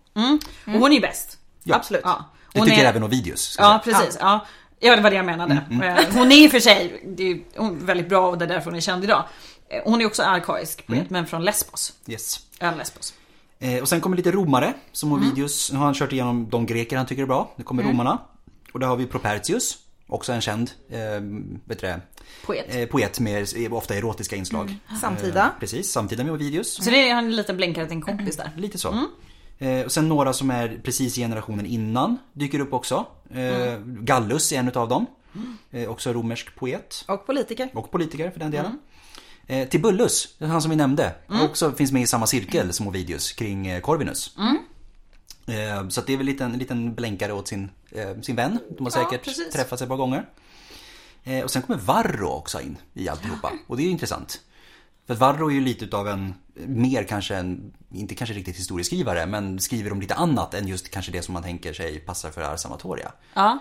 S2: Och hon är ju bäst.
S1: Ja.
S3: Absolut.
S2: Ja.
S1: Det
S2: Hon
S1: tycker
S2: är-
S1: även Ovidius. ska
S2: Ja, precis. Ja. ja, det var det jag menade.
S1: Mm,
S2: Eh, Hon är i och för sig det är ju- hon är väldigt bra och det är därför hon är känd idag. Eh, Hon är också arkaisk
S1: Mm.
S2: poet, men från Lesbos.
S1: säga. Yes.
S2: Ön Lesbos.
S1: Eh, och sen kommer lite romare som
S2: Mm.
S1: Ovidius. Nu har han kört igenom de greker han tycker är bra. Nu kommer romarna. Och där har vi Propertius. Också en känd eh, vet du det,
S2: Poet. Mm.
S1: eh, poet med ofta erotiska inslag. Eh,
S3: Samtida.
S1: Precis, samtida med Ovidius.
S2: Så det är han en liten blänkare till en kompis där.
S1: Lite så. Eh, och sen några som är precis i generationen innan dyker upp också. Eh, Gallus är en utav dem. Eh, också romersk poet.
S3: Och politiker.
S1: Och politiker för den delen. Eh, Tibullus, han som vi nämnde, också finns med i samma cirkel som Ovidius kring eh, Corvinus. Eh, så att det är väl lite en liten blänkare åt sin, eh, sin vän. De har
S2: Ja,
S1: säkert
S2: precis.
S1: träffats ett par gånger. Eh, och sen kommer Varro också in i alltihopa. Och det är ju intressant. För att Varro är ju lite utav en, mer kanske en, inte kanske riktigt historieskrivare, men skriver om lite annat än just kanske det som man tänker sig passar för Ars Amatoria.
S2: Ja.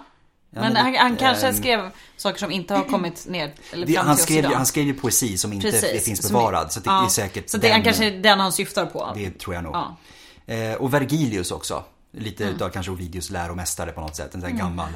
S1: men
S2: Men
S1: det-
S2: han, han kanske
S1: ehm,
S2: skrev saker som inte har kommit ner eller
S1: Det,
S2: fram
S1: han,
S2: till
S1: skrev,
S2: oss
S1: ju-
S2: idag.
S1: han skrev ju poesi som inte det finns
S2: Som-
S1: bevarad. Så att det
S2: ja.
S1: är säkert
S2: Så det
S1: den-
S2: han kanske är den han syftar på.
S1: Det tror jag nog.
S2: Ja. Mm.
S1: Eh, och Vergilius också. Lite utav kanske Ovidius läromästare på något sätt. En sån här gammal.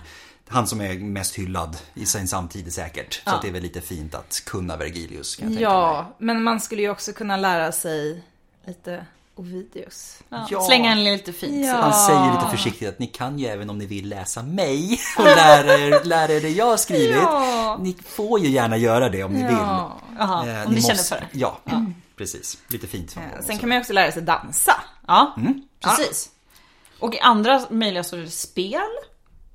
S1: Han som är mest hyllad i sin samtid säkert. Så att det är väl lite fint att kunna Vergilius kan jag tänka mig.
S3: Ja, men man skulle ju också kunna lära sig lite Ovidius.
S2: Ja.
S1: Ja.
S2: Slänga en lite fint.
S3: Ja.
S2: Ja.
S1: Han säger lite försiktigt att ni kan ju även om ni vill läsa mig och lära er, lära er det jag har skrivit.
S3: Ja.
S1: Ni får ju gärna göra det om ni
S3: Ja.
S1: vill.
S2: Aha,
S1: Eh,
S2: om ni känner
S1: måste-
S2: för det. Mm.
S1: Ja, precis. Lite fint. från honom
S3: Sen
S1: också.
S3: kan man ju också lära sig dansa.
S2: Ja,
S1: Mm.
S2: precis. Och i andra möjliga så är det spel,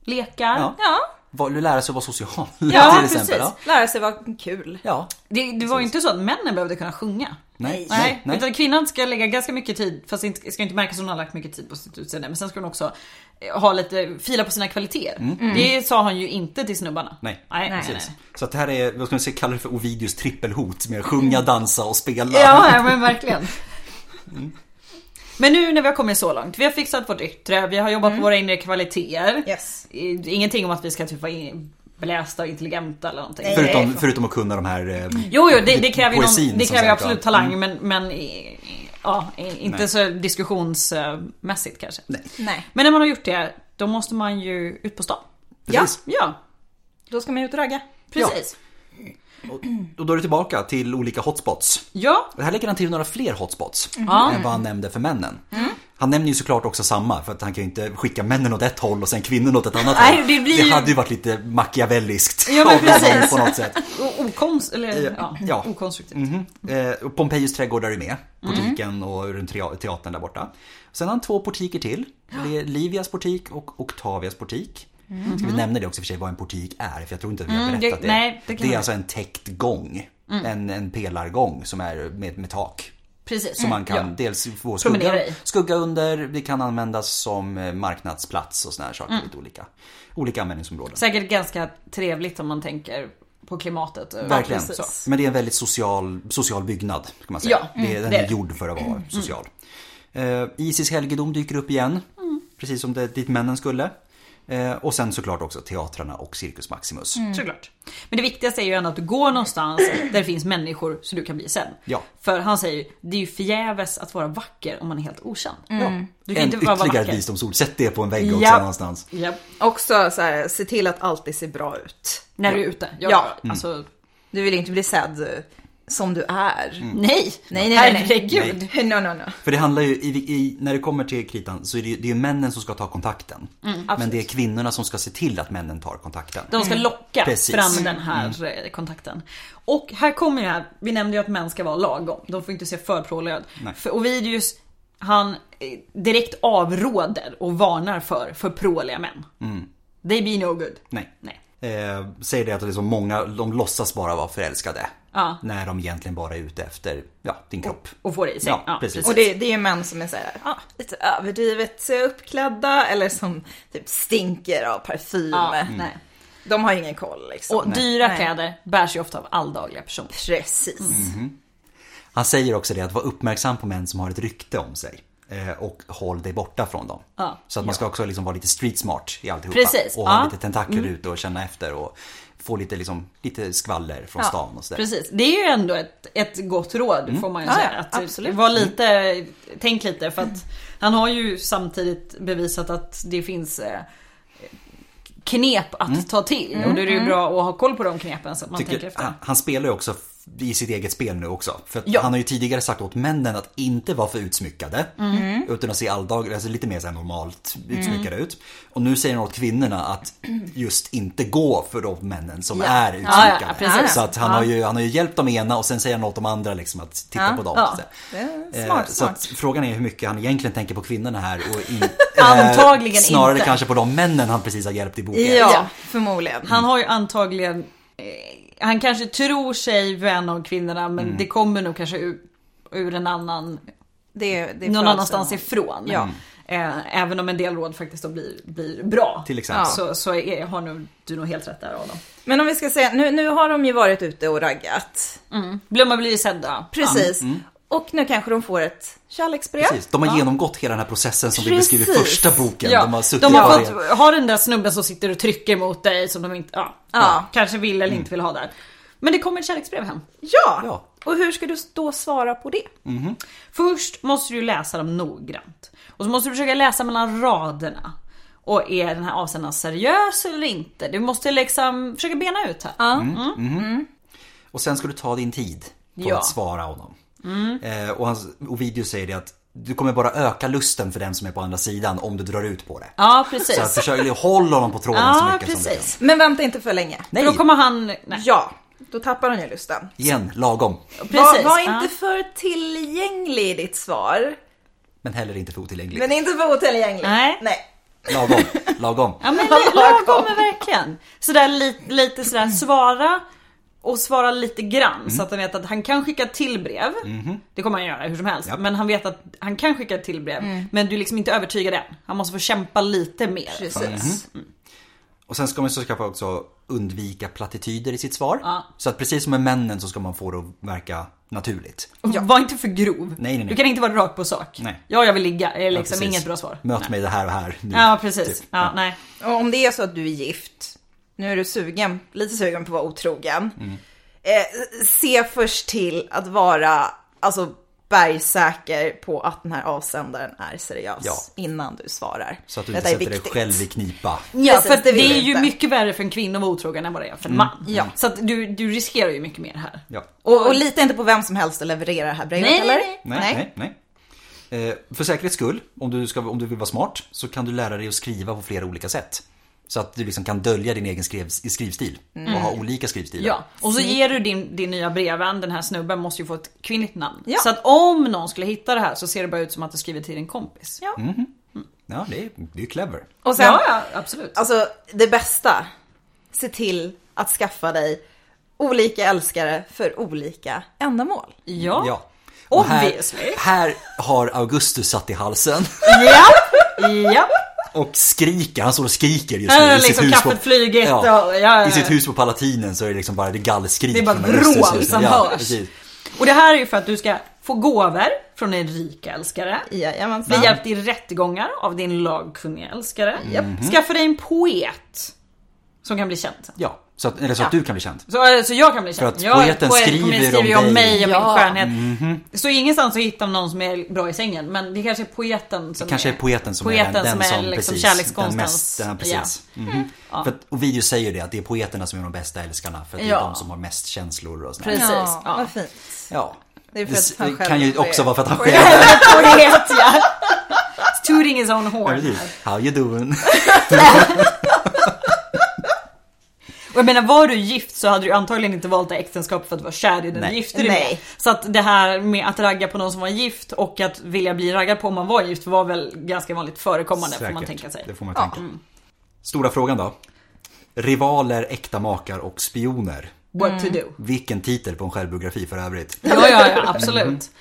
S2: lekar.
S1: Ja.
S3: Ja,
S1: Vad- Lära sig att vara social
S2: Ja,
S1: till
S2: precis.
S1: exempel. Ja,
S3: lära sig vara kul.
S1: ja.
S2: Det, det var ju inte så att männen behövde kunna sjunga.
S1: Nej,
S2: Nej, utan kvinnan ska lägga ganska mycket tid, fast inte, ska inte märkas att hon har lagt mycket tid på sitt utseende. Men sen ska hon också eh, ha lite, fila på sina kvaliteter. Mm. Det sa han ju inte till snubbarna.
S1: Nej,
S2: nej, nej,
S1: Precis.
S2: nej.
S1: Så att det här är, vad ska man säga, kalla det för Ovidius trippelhot med att sjunga, dansa och spela.
S2: Mm. Ja, ja, men verkligen. Men nu när vi har kommit så långt, vi har fixat vårt yttre, vi har jobbat på våra inre kvaliteter.
S3: Yes.
S2: I- Ingenting om att vi ska typ vara in- belästa och intelligenta eller någonting.
S1: Förutom, förutom att kunna de här... eh,
S2: Jo, jo, det, det kräver ju
S1: Poesin,
S2: någon, det
S1: som
S2: kräver ju
S1: sagt,
S2: absolut
S1: ja. Mm.
S2: talang men, men i- i- ja, i- inte
S1: Nej.
S2: så diskussionsmässigt kanske.
S3: Nej.
S2: Men när man har gjort det, då måste man ju ut på stan.
S1: Precis.
S2: Ja,
S3: Då ska man ut och ragga.
S2: precis.
S1: Och då är du tillbaka till olika hotspots.
S2: Ja,
S1: Och här lägger han till några fler hotspots
S2: Mhm. Ja. Mm.
S1: än vad han nämnde för männen. Han nämner ju såklart också samma, för att han kan ju inte skicka männen åt ett håll och sen kvinnorna åt ett annat
S2: Nej,
S1: håll.
S2: det blir ju-
S1: hade ju varit lite machiavelliskt
S2: Ja, men
S1: av honom
S2: precis.
S1: på något sätt.
S2: och okonst, eller, ja,
S1: ja.
S2: okonstruktivt.
S1: Eh, och Pompejus trädgård är ju
S2: Mm.
S1: med. Portiken och runt tea- teatern där borta. Sen har han två portiker till. Det är Livias portik och Octavias portik. Ska vi nämna det också i och för sig vad en portik är? För jag tror inte att vi har
S2: Mm,
S1: berättat
S2: det-
S1: det.
S2: nej, det kan Mm.
S1: är
S2: man-
S1: alltså en täckt gång. En, en pelargång som är med, med tak.
S2: Precis.
S1: Som man kan
S2: Ja.
S1: dels få
S2: Promenera
S1: skugga,
S2: i.
S1: skugga under, det kan användas som eh, marknadsplats och såna här
S2: Mm.
S1: saker. Lite olika, olika användningsområden.
S2: Säkert ganska trevligt om man tänker på klimatet.
S1: Verkligen.
S2: Så.
S1: Så. Men det är en väldigt social, social byggnad. Kan man säga.
S2: Ja, mm,
S1: det är, den
S2: det är
S1: är
S2: det. Mm,
S1: gjord för att vara
S2: Mm.
S1: social. Eh, Isis helgedom dyker upp igen. Precis som det, dit männen skulle. Eh, och sen såklart också teatrarna och Circus Maximus.
S2: Såklart. Men det viktigaste är ju ändå att du går någonstans där det finns människor så du kan bli sedd.
S1: Ja.
S2: För han säger ju, det är ju förgäves att vara vacker om man är helt okänd. Du kan
S1: Mm. En
S2: inte bara vara
S1: ytterligare
S2: vacker.
S1: ett visdomsord, sätt det på en vägg också
S3: Ja.
S1: någonstans.
S2: Japp.
S3: Också så här, se till att alltid se bra ut.
S2: När du är ute. Ja.
S3: Ja.
S2: Alltså,
S3: Du vill inte bli sedd eh, som du är.
S1: Mm.
S2: nej.
S3: Nej, nej, nej.
S2: Herregud.
S3: No, no, no.
S1: För det handlar ju, i, i, när det kommer till kritan så är det ju, det är ju männen som ska ta kontakten. Men det är kvinnorna som ska se till att männen tar kontakten.
S2: Mm, De ska locka
S1: Mm. Precis.
S2: fram den här eh, kontakten. Och här kommer ju här, vi nämnde ju att män ska vara lagom. De får inte se för pråliga ut.
S1: Nej.
S2: För Ovidius, han eh, direkt avråder och varnar för för pråliga män. They be no good.
S1: Mm. Nej.
S2: Nej.
S1: Eh, säger det att liksom många, de låtsas bara vara förälskade.
S2: Ja.
S1: När de egentligen bara är ute efter, ja, din kropp.
S2: Och får det i sig.
S1: Ja, precis.
S3: Och det, det är ju män som är så här, ah, lite överdrivet eh, uppklädda eller som typ stinker av parfym.
S2: Ja, nej.
S3: De har ju ingen koll liksom.
S2: Mm. Och dyra
S3: Nej.
S2: kläder bärs ju ofta av alldagliga personer.
S3: Precis.
S1: Mm. Han säger också det att vara uppmärksam på män som har ett rykte om sig. Eh, och håll dig borta från dem.
S2: Ja.
S1: Så att man ska också liksom vara lite street smart i alltihopa.
S2: Precis,
S1: Och ha
S2: ja. Mm.
S1: lite tentakler ute och känna efter och få lite, liksom, lite skvaller från
S3: Ja,
S1: stan och sådär.
S2: Precis, det är ju ändå ett, ett gott råd får man ju
S3: Mm. Ja,
S2: säga.
S3: ja,
S2: att
S3: absolut. Mm.
S2: Var lite, Tänk lite för att han har ju samtidigt bevisat att det finns eh, knep att
S3: Mm.
S2: ta till. Och då är det ju bra att ha koll på de knepen så att man tänker
S1: Tycker,
S2: efter.
S1: han, han spelar ju också f- i sitt eget spel nu också. För att
S2: Ja.
S1: han har ju tidigare sagt åt männen att inte vara för utsmyckade.
S2: Mm.
S1: Utan att se alldag, alltså lite mer så här normalt utsmyckade ut. Och nu säger han åt kvinnorna att just inte gå för de männen som är
S2: Ja,
S1: utsmyckade.
S2: ja, precis.
S1: så att han,
S2: Ja.
S1: har ju, han har ju hjälpt de ena och sen säger han åt de andra liksom att titta på dem.
S2: ja.
S1: Så.
S3: Det är
S1: Eh,
S3: smart,
S1: så att
S3: smart.
S1: frågan är hur mycket han egentligen tänker på kvinnorna här och in,
S2: Antagligen
S1: eh, Snarare
S2: inte.
S1: kanske på de männen han precis har hjälpt i boken.
S3: Ja, förmodligen.
S2: Han har ju antagligen, eh, han kanske tror sig vän av kvinnorna men
S3: Mm.
S2: det kommer nog kanske ur, ur en annan,
S3: Det, är- det är
S2: någon
S3: bra
S2: annanstans
S3: att-
S2: ifrån.
S3: Ja.
S2: Eh, Även om en del råd faktiskt då blir, blir bra.
S1: Till exempel.
S2: Så, så är, har nog, du nog helt rätt där Adam.
S3: Men om vi ska säga, nu, nu har de ju varit ute och raggat.
S2: Blomma blir ju sedda.
S3: Precis. Och nu kanske de får ett kärleksbrev.
S1: Mm. Precis, de har genomgått hela den här processen som
S3: Precis.
S1: vi beskriver i första boken.
S2: Ja,
S1: De har suttit bara i-
S2: fått ha den där snubben som sitter och trycker mot dig som de inte, ja,
S3: Ja.
S2: kanske vill eller
S1: Mm.
S2: inte vill ha där. Men det kommer ett kärleksbrev hem.
S3: Ja.
S1: Ja.
S3: Och hur ska du då svara på det?
S2: Först måste du läsa dem noggrant. Och så måste du försöka läsa mellan raderna. Och är den här avsändaren seriös eller inte? Du måste liksom försöka bena ut här. Mm.
S1: Mm. Och sen ska du ta din tid på
S2: Ja. Mm.
S1: att svara honom. Eh, och hans video säger det att du kommer bara öka lusten för den som är på andra sidan om du drar ut på det.
S2: Ja
S1: Så att
S2: precis.
S1: försök, håll honom på tråden så
S2: Ja
S1: mycket som du kan.
S2: precis.
S3: Men vänta inte för länge.
S2: För då kommer han... Nej,
S3: Ja, då tappar han ju lusten.
S1: Igen, lagom.
S2: precis.
S3: Var, var
S2: Ja.
S3: inte för tillgänglig i ditt svar.
S1: Men heller inte för otillgänglig.
S3: Men inte för otillgänglig.
S2: Nej.
S3: Nej.
S1: Lagom, lagom.
S2: Ja men det- lagom men verkligen. Sådär lite, lite sådär svara och svara lite grann så att han vet att han kan skicka till brev. Det kommer han göra hur som helst. Men han vet att han kan skicka till brev. Men du är liksom inte övertygad än. Han måste få kämpa lite mer.
S3: Precis.
S1: Mm-hmm. Och sen ska man så kanske också undvika plattityder i sitt svar.
S2: Ja.
S1: Så att precis som med männen så ska man få det att verka naturligt.
S2: Och Var inte för grov.
S1: nej, nej.
S2: Du kan inte vara rakt på sak.
S1: Nej.
S2: Ja jag vill ligga är
S1: Ja,
S2: liksom
S1: precis.
S2: inget bra svar.
S1: Möt mig det här och här nu.
S2: Ja precis.
S1: typ.
S2: Ja, nej.
S3: Och om det är så att du är gift, nu är du sugen, lite sugen på att vara otrogen.
S1: Mm.
S3: Eh, se först till att vara, alltså bergsäker på att den här avsändaren är seriös
S1: Ja.
S3: innan du svarar.
S1: Så att du inte
S3: Detta är
S1: sätter dig
S3: viktigt.
S1: själv i knipa.
S2: Ja,
S3: Precis,
S2: för att det,
S3: vill
S2: är
S3: du
S2: ju
S3: inte.
S2: mycket värre för en kvinna att vara otrogen än vad det är för en man.
S3: Ja.
S2: Så att du, du riskerar ju mycket mer här.
S1: Ja.
S3: Och, och lita inte på vem som helst att leverera det här brevet
S2: Nej, nej,
S3: eller?
S2: nej.
S1: Nej, nej, nej. Eh, för säkerhets skull, om du, ska, om du vill vara smart, så kan du lära dig att skriva på flera olika sätt. Så att du liksom kan dölja din egen skrev, skrivstil och ha olika skrivstilar.
S2: Mm. Ja, och
S1: Mm.
S2: så ger du din, din nya brevvän, den här snubben, måste ju få ett kvinnligt namn.
S3: Ja.
S2: Så att om någon skulle hitta det här så ser det bara ut som att du skriver till din kompis.
S3: Ja.
S1: Ja, det är, det är clever.
S3: Och sen,
S2: ja, ja, absolut.
S3: Alltså det bästa, se till att skaffa dig olika älskare för olika ändamål.
S2: Ja.
S1: Ja. Och här,
S2: Obviously.
S1: här har Augustus satt i halsen
S2: Ja. ja.
S1: och skriker. Han står och skriker just nu.
S2: Äh,
S1: i sitt
S2: liksom
S1: hus på,
S2: kaffet flyger och- ja, ja, ja.
S1: I sitt hus på Palatinen så är det liksom bara det gallskrik.
S2: Det är bara
S1: från Augustus just
S2: vrål
S1: nu.
S2: som
S1: ja,
S2: hörs.
S1: precis.
S2: Och det här är ju för att du ska få gåvor från en rik älskare. Bli
S3: Jajamensan.
S2: hjälpt i rättegångar av din lagkunniga älskare.
S1: Mm.
S2: Skaffa dig en poet som kan bli känd.
S1: Ja, så att, eller så att du kan bli känd.
S2: Så, så jag kan bli känd.
S1: att
S2: jag,
S1: poeten
S2: poet-
S1: skriver
S2: kommer
S1: om
S2: skriva ju
S1: dig. Mm-hmm.
S2: om mig och
S3: Ja.
S2: min skönhet. Så ingenstans så hittar man någon som är bra i sängen. Men det kanske är poeten som
S1: Kanske är
S2: är
S1: poeten som är
S2: poeten
S1: den, den
S2: som
S1: som,
S2: är liksom
S1: precis,
S2: kärlekskonstens-
S1: den
S2: Mm.
S1: mest, den, precis. Mhm. För att, och video säger ju det, att det är poeterna som är de bästa älskarna. För att det är
S2: Ja.
S1: de som har mest känslor och sånt där.
S2: Precis,
S3: Ja,
S2: ja.
S3: vad fint.
S1: Ja.
S3: Det är för
S1: Det
S3: att han
S1: s-
S3: själv
S1: kan ju
S3: är-
S1: också vara för att han själv
S2: poet. ja. Tooting his own
S1: Ja,
S2: horn.
S1: precis. How you doing?
S2: Och jag menar var du gift så hade du antagligen inte valt det här äktenskapet för att vara kär i den
S1: Nej.
S2: du gifte dig
S3: Nej.
S2: med. Så att det här med att ragga på någon som var gift och att vilja bli raggad på om man var gift var väl ganska vanligt förekommande får man
S1: Säkert.
S2: tänka sig. Mm.
S1: Det får man tänka. Stora frågan då. Rivaler, äkta makar och spioner.
S2: What to do.
S3: Mm.
S1: Vilken titel på en självbiografi för övrigt.
S2: Ja, ja,
S1: Mm.
S2: ja absolut.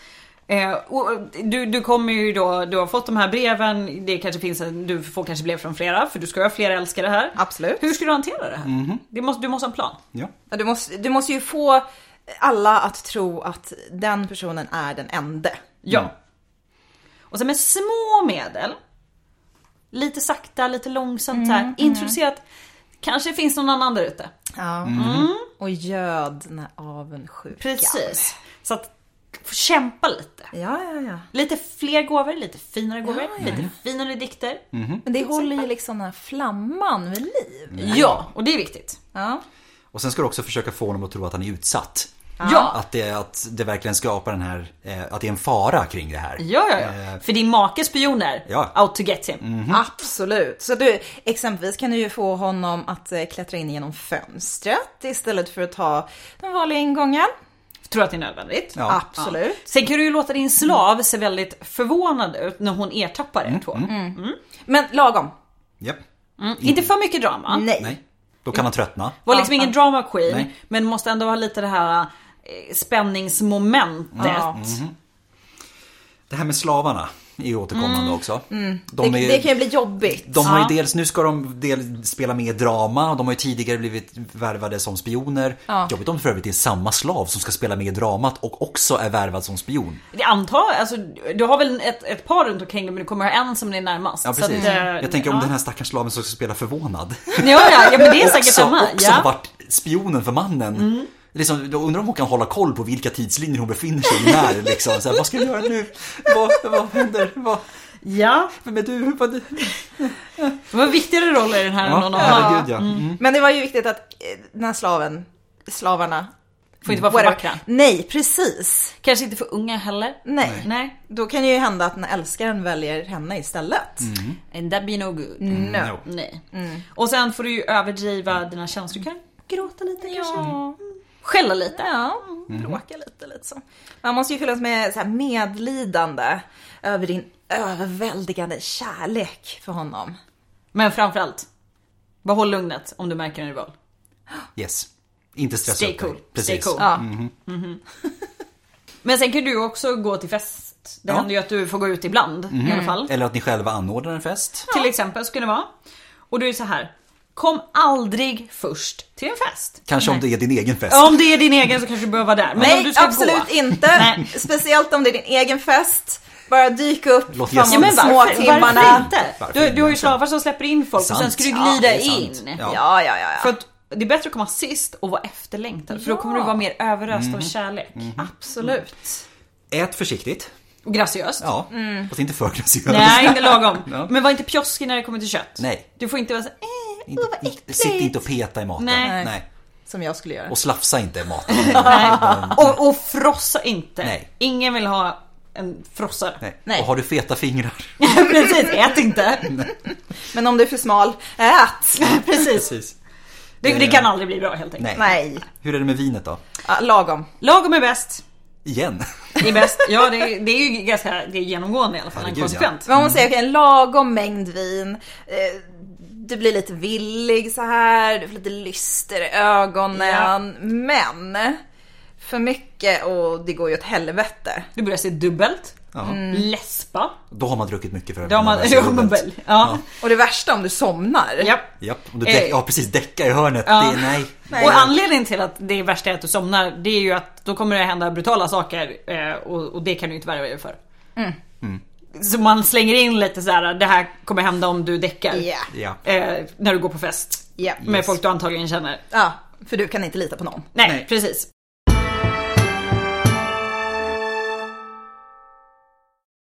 S2: Eh, och och du, du kommer ju då, du har fått de här breven, det kanske finns en, du får kanske brev från flera för du ska ju ha flera älskare här.
S3: Absolut.
S2: Hur ska du hantera det här?
S1: Mhm.
S2: Det måste, du måste ha en plan.
S1: Ja.
S3: Ja, Du måste, du måste ju få alla att tro att den personen är den ende.
S2: Ja.
S1: Mm.
S2: Och sen med små medel, lite sakta, lite långsamt så här, introducera att kanske finns någon annan där ute.
S3: Ja. Mm. Och göd den här avundsjukan.
S2: Precis. Så att få kämpa lite.
S3: Ja, ja, ja.
S2: Lite fler gåvor, lite finare gåvor, lite finare dikter.
S1: Mm.
S3: Men det håller ju liksom den här flamman vid liv.
S2: Ja, och det är viktigt.
S3: Ja.
S1: Och sen ska du också försöka få honom att tro att han är utsatt.
S2: Ja.
S1: Att det, att det verkligen skapar den här, eh, att det är en fara kring det här.
S2: Ja, ja, ja. För din makes spioner,
S1: Eh. Ja. Mm.
S2: out to get him.
S3: Absolut. Så du, exempelvis kan du ju få honom att eh, klättra in genom fönstret istället för att ta den vanliga ingången.
S2: Tror att det är nödvändigt.
S1: Ja.
S3: Absolut.
S2: Sen kan du ju låta din slav se väldigt förvånad ut när hon ertappar
S1: Mm,
S2: er två.
S3: Men lagom.
S1: Japp.
S2: Mm. Inte för mycket drama.
S3: Nej.
S1: Nej. Då kan han tröttna.
S2: Var liksom ingen drama queen,
S1: Nej.
S2: men måste ändå ha lite det här eh, spänningsmomentet.
S3: Ja.
S1: Det här med slavarna är ju återkommande
S2: Mm.
S1: också. De
S3: det,
S1: är,
S3: det kan ju bli jobbigt.
S1: de har ju dels, nu ska de del, spela med i drama och de har ju tidigare blivit värvade som spioner. Jobbigt om det för övrigt är samma slav som ska spela med i dramat och också är värvad som spion.
S2: Det antar alltså, du har väl ett, ett par runt omkring dig men du kommer ha en som är närmast.
S1: Ja,
S2: Så
S1: precis.
S2: att, eh,
S1: Jag tänker om
S2: ja.
S1: den här stackars slaven som ska spela förvånad.
S2: Ja, ja, ja men det är säkert
S1: också,
S2: samma.
S1: också
S2: Ja. Mm.
S1: varit spionen för mannen. Liksom, då undrar om hon kan hålla koll på vilka tidslinjer hon befinner sig i när. Liksom. Så här, vad ska jag göra nu? Vad, vad händer? Vad,
S2: ja,
S1: vem är du? Vad,
S2: det var viktigare roller i den här än någon annan.
S1: herregud ja. Mm.
S3: Men det var ju viktigt att eh, den här slaven, slavarna,
S2: Får inte vara för
S3: whatever.
S2: vackra.
S3: Nej, precis.
S2: Kanske inte för unga heller.
S3: Nej.
S2: Nej.
S3: Då kan det ju hända att den älskaren väljer henne istället.
S1: Mm.
S2: And Eh, that be no good.
S3: Mm.
S1: No.
S2: Nej. Och sen får du ju överdriva dina känslor. Du kan gråta lite kanske.
S3: Ja.
S2: Skälla lite.
S3: Ja,
S1: Mm.
S3: bråka lite lite så. Man måste ju fyllas med så här medlidande över din överväldigande kärlek för honom.
S2: Men framförallt, behåll lugnet om du märker en rival.
S1: Yes. Inte stressa
S2: Stay
S1: upp dig.
S2: cool. Stay
S1: Precis.
S2: cool.
S3: Ja.
S2: Men sen kan du också gå till fest.
S1: Ja.
S2: Det
S1: Mhm.
S2: händer ju att du får gå ut ibland i alla fall.
S1: Eller att ni själva anordnar en fest.
S2: Till exempel skulle det vara. Och du är det så här. Kom aldrig först till en fest.
S1: Kanske om det är din egen fest.
S2: Ja, Om det är din egen så kanske du behöver vara där. Men om du
S3: Nej,
S2: ska
S3: absolut
S2: gå.
S3: inte.
S2: Nej.
S3: Speciellt om det är din egen fest. Bara dyk upp
S1: Låt
S3: från
S2: Ja,
S1: gästen-
S2: men
S3: de små
S2: varför, varför
S3: timmarna.
S2: inte?
S1: Varför
S2: Du,
S1: inte?
S2: du har ju slavar som släpper in folk och sen
S1: Sant.
S2: ska du
S1: Ja,
S2: glida
S1: det är sant.
S2: in.
S1: Ja.
S3: Ja, ja, ja.
S2: För
S3: ja.
S2: att det är bättre att komma sist och vara efterlängtad. För då kommer du vara mer överöst
S1: Mhm.
S2: av kärlek.
S3: Absolut.
S1: Ät försiktigt.
S2: Och graciöst.
S1: Ja. Fast inte för graciöst.
S2: Mm. Nej, inte lagom.
S1: Ja.
S2: Men var inte pjoskig när det kommer till kött.
S1: Nej.
S2: Du får inte vara så eh,
S1: Inte-
S2: åh vad
S1: inte-
S2: äckligt.
S1: Sitt inte och peta i maten.
S2: Nej.
S3: Som jag skulle göra.
S1: Och slafsa inte i maten.
S2: Nej. Och, och frossa inte.
S1: Nej.
S2: Ingen vill ha en frossare.
S1: Nej.
S3: Nej.
S1: Och har du feta fingrar.
S2: Precis, ät inte.
S3: Men om du är för smal, ät!
S2: Precis.
S1: Precis.
S2: Det, det kan aldrig bli bra helt enkelt.
S1: Nej.
S3: Nej,
S1: Hur är det med vinet då?
S3: ja, lagom.
S2: Lagom är bäst.
S1: Igen.
S2: Det är bäst. Ja, det, är- det är ju ganska det är genomgående i alla fall.
S1: Herregud,
S2: en konsekvent.
S3: Man måste säga okej, en lagom mängd vin. Eh, Du blir lite villig så här, du får lite lyster i ögonen. Men för mycket och det går ju åt helvete.
S2: Du börjar se dubbelt.
S1: Ja.
S2: Läspa.
S1: Då har man druckit mycket för övrigt.
S2: Mm. Då har man...
S1: Alltså,
S2: Dubbel. Ja.
S3: Och det värsta om du somnar.
S2: Japp.
S1: Japp. Om du däck, ja precis, däcka i hörnet.
S2: Eh. Ja.
S1: Det är, nej.
S2: Och anledningen till att det värsta är att du somnar, det är ju att då kommer det hända brutala saker eh, och, och det kan du inte värja dig för.
S1: Mm.
S2: Så man slänger in lite så här: det här kommer hända om du däckar.
S3: Ja.
S1: Ja.
S2: Eh, när du går på fest.
S3: Ja.
S2: Med folk du antagligen känner.
S3: Ja, för du kan inte lita på någon.
S2: Nej,
S1: Nej.
S2: precis.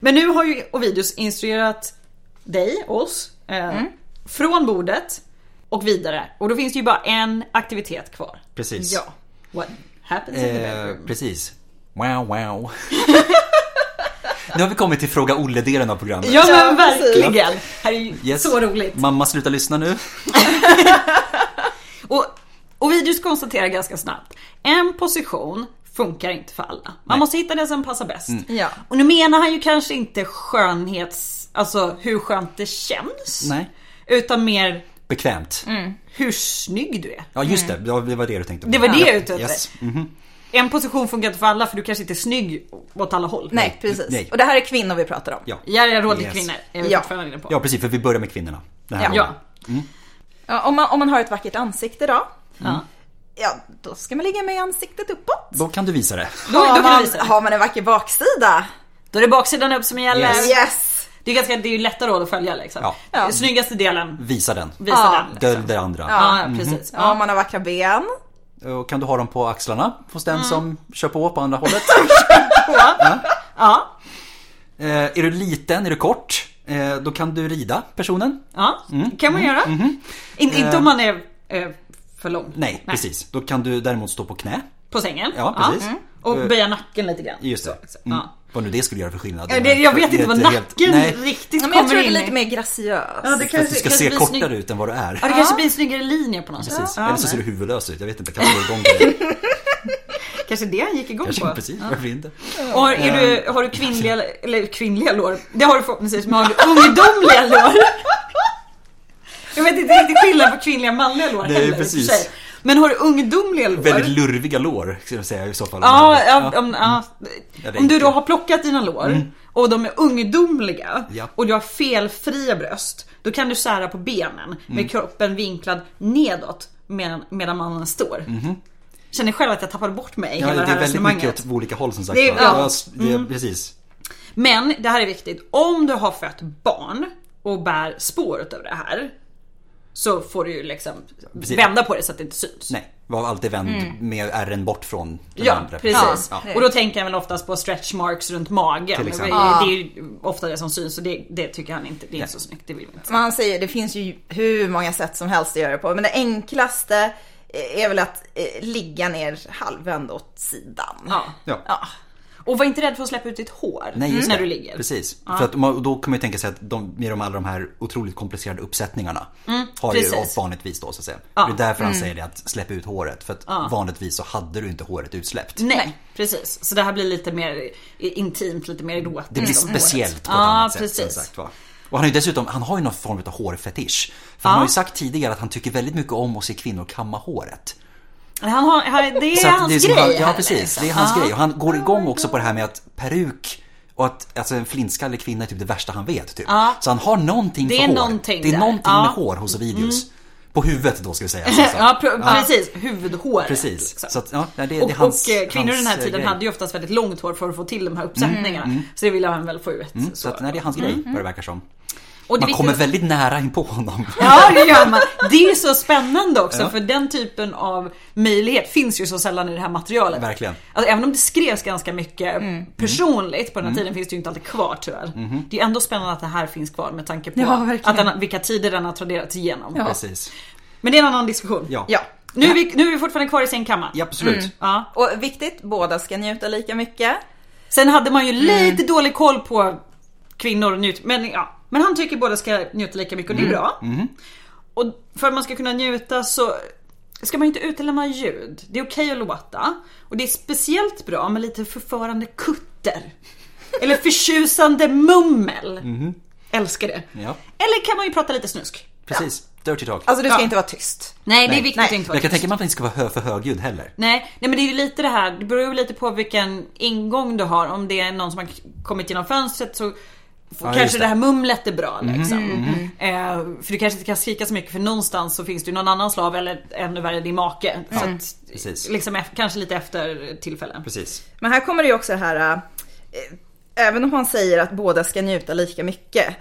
S2: Men nu har ju Ovidius instruerat dig, oss, eh,
S1: Mm.
S2: från bordet och vidare. Och då finns det ju bara en aktivitet kvar.
S1: Precis.
S2: Ja. What happens in the
S1: Eh,
S2: bedroom?
S1: precis. Wow, wow. nu har vi kommit till fråga Olle-delen av programmet.
S2: Ja
S3: Ja,
S2: men
S3: precis.
S2: verkligen! Här är ju
S1: Yes.
S2: så roligt.
S1: Mamma, sluta lyssna nu.
S2: Och Ovidius konstaterar ganska snabbt, en position funkar inte för alla. Man måste hitta den som passar bäst.
S1: Mm.
S3: Ja.
S2: Och nu menar han ju kanske inte skönhets, alltså hur skönt det känns.
S1: Nej.
S2: Utan mer
S1: Bekvämt.
S3: Mm.
S2: hur snygg du är.
S1: Ja, just det. Det var- det var det du tänkte på.
S2: Mm. Det var det jag är ute efter.
S1: Yes. Mm,
S2: En position funkar inte för alla för du kanske inte är snygg åt alla håll.
S3: Nej, precis.
S1: Nej.
S3: Och det här är kvinnor vi pratar om.
S1: Ja.
S2: Järja råd till
S1: Yes.
S2: kvinnor är vi
S3: Ja.
S2: fortfarande inne på.
S1: Ja, precis. För vi börjar med kvinnorna. Det här
S3: Ja.
S1: var-
S2: ja.
S3: Ja, om, man, om man har ett vackert ansikte då,
S2: Ja.
S3: ja då ska man ligga med ansiktet uppåt.
S1: Då kan du visa det.
S2: Då, då
S3: har,
S2: kan
S3: man,
S2: man, visa. det.
S3: har man en vacker baksida?
S2: Då är det baksidan upp som gäller.
S1: Yes.
S3: Yes!
S2: Det är ganska, det är ju lätta råd att följa liksom.
S1: Ja.
S3: Ja.
S2: Snyggaste delen,
S1: Visa den.
S2: visa
S3: Ja.
S2: den. Liksom.
S1: Dölj det andra.
S2: Ja, precis.
S3: Ja.
S2: Ja.
S3: Om man har vackra ben?
S1: Och kan du ha dem på axlarna hos
S2: Mm.
S1: den som kör på på andra hållet?
S2: Ja.
S1: eh, är du liten, är du kort, eh, då kan du rida personen.
S2: Ja, kan
S1: Mm.
S2: man göra. In, inte om man är eh, för lång.
S1: Mhm. Nej, precis. Då kan du däremot stå på knä.
S2: På sängen. Mm.
S1: Ja, precis. Eh,
S2: Och böja nacken lite grann.
S1: Just det. Mm.
S2: Ja.
S1: Vad nu det skulle göra för skillnad.
S2: Det, jag vet inte
S1: Det är
S2: vad
S1: ett
S2: nacken
S1: helt- Nej,
S2: riktigt
S3: Ja, men
S2: kommer
S3: jag tror det är
S2: in
S3: lite
S2: i.
S3: mer graciös.
S2: Ja, det
S1: för att du
S2: kanske,
S1: ska
S2: kanske
S1: se
S2: blir snygg-
S1: kortare ut än vad du är.
S2: Ja, det kanske blir en snyggare linje på något sätt.
S1: Precis.
S2: Ja,
S1: Eller så
S2: men-
S1: ser du huvudlös ut. Jag vet inte, kanske går igång på det.
S2: Kanske det han gick igång
S1: Kanske,
S2: på.
S1: precis, Ehm. varför inte?
S2: Och är du, har du kvinnliga, eller kvinnliga lår? Det har du förhoppningsvis, men har du ungdomliga lår? Jag vet inte riktigt skillnad på kvinnliga och manliga lår
S1: Nej,
S2: heller i och för
S1: precis.
S2: sig. Men har du ungdomliga lår?
S1: Väldigt lurviga lår, skulle jag säga i så fall.
S2: Ja, ja, om, ja.
S1: Ja, det är
S2: om du
S1: inte- Mm.
S2: då har plockat dina lår och de är ungdomliga
S1: Ja.
S2: och du har felfria bröst. Då kan du sära på benen
S1: Mm.
S2: med kroppen vinklad nedåt medan, medan mannen står. Känner själv att jag tappade bort mig
S1: Mhm.
S2: i
S1: Ja,
S2: hela
S1: det
S2: det här
S1: är väldigt mycket
S2: resonemanget.
S1: åt olika håll som sagt.
S2: Det är-
S1: var.
S2: ja. Mm.
S1: s- det, Precis.
S2: Men det här är viktigt. Om du har fött barn och bär spår utav det här. Så får du ju liksom
S1: Precis.
S2: vända på det så att det inte syns.
S1: Nej, var alltid vänd med ärren bort från den
S2: Mm. Ja,
S1: andra.
S2: precis.
S1: Ja.
S3: Ja.
S2: Och då tänker han väl oftast på stretch marks runt magen.
S1: Till
S2: Det
S1: exempel.
S2: är det är ju ofta det som syns och det, det tycker han inte, det är inte så snyggt, det vill vi inte.
S3: Man säger, det finns ju hur många sätt som helst att göra det på. Men det enklaste är väl att eh, ligga ner halvvänd åt sidan.
S2: Ja.
S1: Ja.
S2: Ah. Och var inte rädd för att släppa ut ditt hår
S1: Nej, just
S2: Mm. när
S1: det.
S2: du ligger.
S1: Precis. För att, man- då kan man ju tänka sig att de, med de, alla de här otroligt komplicerade uppsättningarna har ju
S2: Mm, precis. Mm.
S1: vanligtvis då så att säga. Det är därför han säger det att släpp ut håret. För att vanligtvis så hade du inte håret utsläppt.
S2: Nej, precis. Så det här blir lite mer intimt, lite mer erotiskt.
S1: Det blir
S2: om håret.
S1: speciellt på ett
S2: Ja,
S1: annat sätt.
S2: precis.
S1: Som sagt, va? Och han, är ju dessutom, han har ju någon form av hårfetisch. För han har ju sagt tidigare att han tycker väldigt mycket om att se kvinnor kamma håret.
S2: Han har, han, det är
S1: Så att
S2: hans
S1: som
S2: grej.
S1: han- Ja
S2: här,
S1: precis,
S2: liksom.
S1: det är hans grej. Och han går igång också på det här med att peruk och att alltså, en flintskallig kvinna är typ det värsta han vet. Typ. Så han har någonting
S2: Det
S1: för
S2: är
S1: hår.
S2: någonting
S1: det är
S2: där.
S1: någonting
S2: Ja. Mm.
S1: med hår hos Ovidius. På huvudet då ska vi säga. Alltså, så.
S2: Ja, pr- precis. Huvudhåret.
S1: Precis.
S2: liksom.
S1: Så att, ja, det, det är
S2: Och,
S1: hans,
S2: och eh, kvinnor
S1: hans,
S2: i den
S1: eh,
S2: här tiden
S1: grej. Mm.
S2: hade ju oftast väldigt långt hår för att få till de här uppsättningarna. Så det ville han väl få ut.
S1: Så att, nej, det är hans grej vad det verkar som.
S2: Mm. Och det
S1: Man kommer
S2: viktigaste-
S1: väldigt nära in på honom.
S2: Ja det gör man. Det är så spännande också för den typen av möjlighet finns ju så sällan i det här materialet.
S1: Verkligen.
S2: Alltså, även om det skrevs ganska mycket personligt på den här tiden finns det ju inte alltid kvar tyvärr. Det är ändå spännande att det här finns kvar med tanke på
S3: Ja, verkligen.
S2: att den, vilka tider den har traderats igenom.
S3: Ja.
S1: Precis.
S2: Men det är en annan diskussion.
S1: Ja.
S3: Ja.
S2: Nu, är vi, nu är vi fortfarande kvar i sängkammaren.
S1: Ja, absolut.
S2: Ja.
S3: Och viktigt, båda ska njuta lika mycket.
S2: Sen hade man ju
S1: Mm.
S2: lite dålig koll på kvinnor och njut, men ja. Men han tycker båda ska njuta lika mycket och det
S1: Mm.
S2: är bra. Och för att man ska kunna njuta så ska man ju inte utelämna ljud. Det är okej att låta. Och det är speciellt bra med lite förförande kutter. Eller förtjusande mummel.
S1: Mm.
S2: Älskar det.
S1: Ja.
S2: Eller kan man ju prata lite snusk.
S1: Precis. Dirty talk.
S3: Alltså du ska
S2: Ja.
S3: inte vara tyst.
S2: Nej, det
S1: Nej.
S2: är viktigt
S1: Nej.
S2: att inte vara
S1: jag kan
S2: tyst.
S1: tänka mig att man inte ska vara hö för högljudd heller.
S2: Nej, nej men det är ju lite det här, det beror ju lite på vilken ingång du har. Om det är någon som har k- kommit genom fönstret så får
S1: just
S2: kanske
S1: det.
S2: det. här mumlet är bra liksom. Eh, för du kanske inte kan skrika så mycket för någonstans så finns det ju någon annan slav eller ännu värre din make. så att,
S1: precis.
S2: Liksom, eff- kanske lite efter tillfällen.
S1: Precis.
S3: Men här kommer det ju också det här eh, även om han säger att båda ska njuta lika mycket,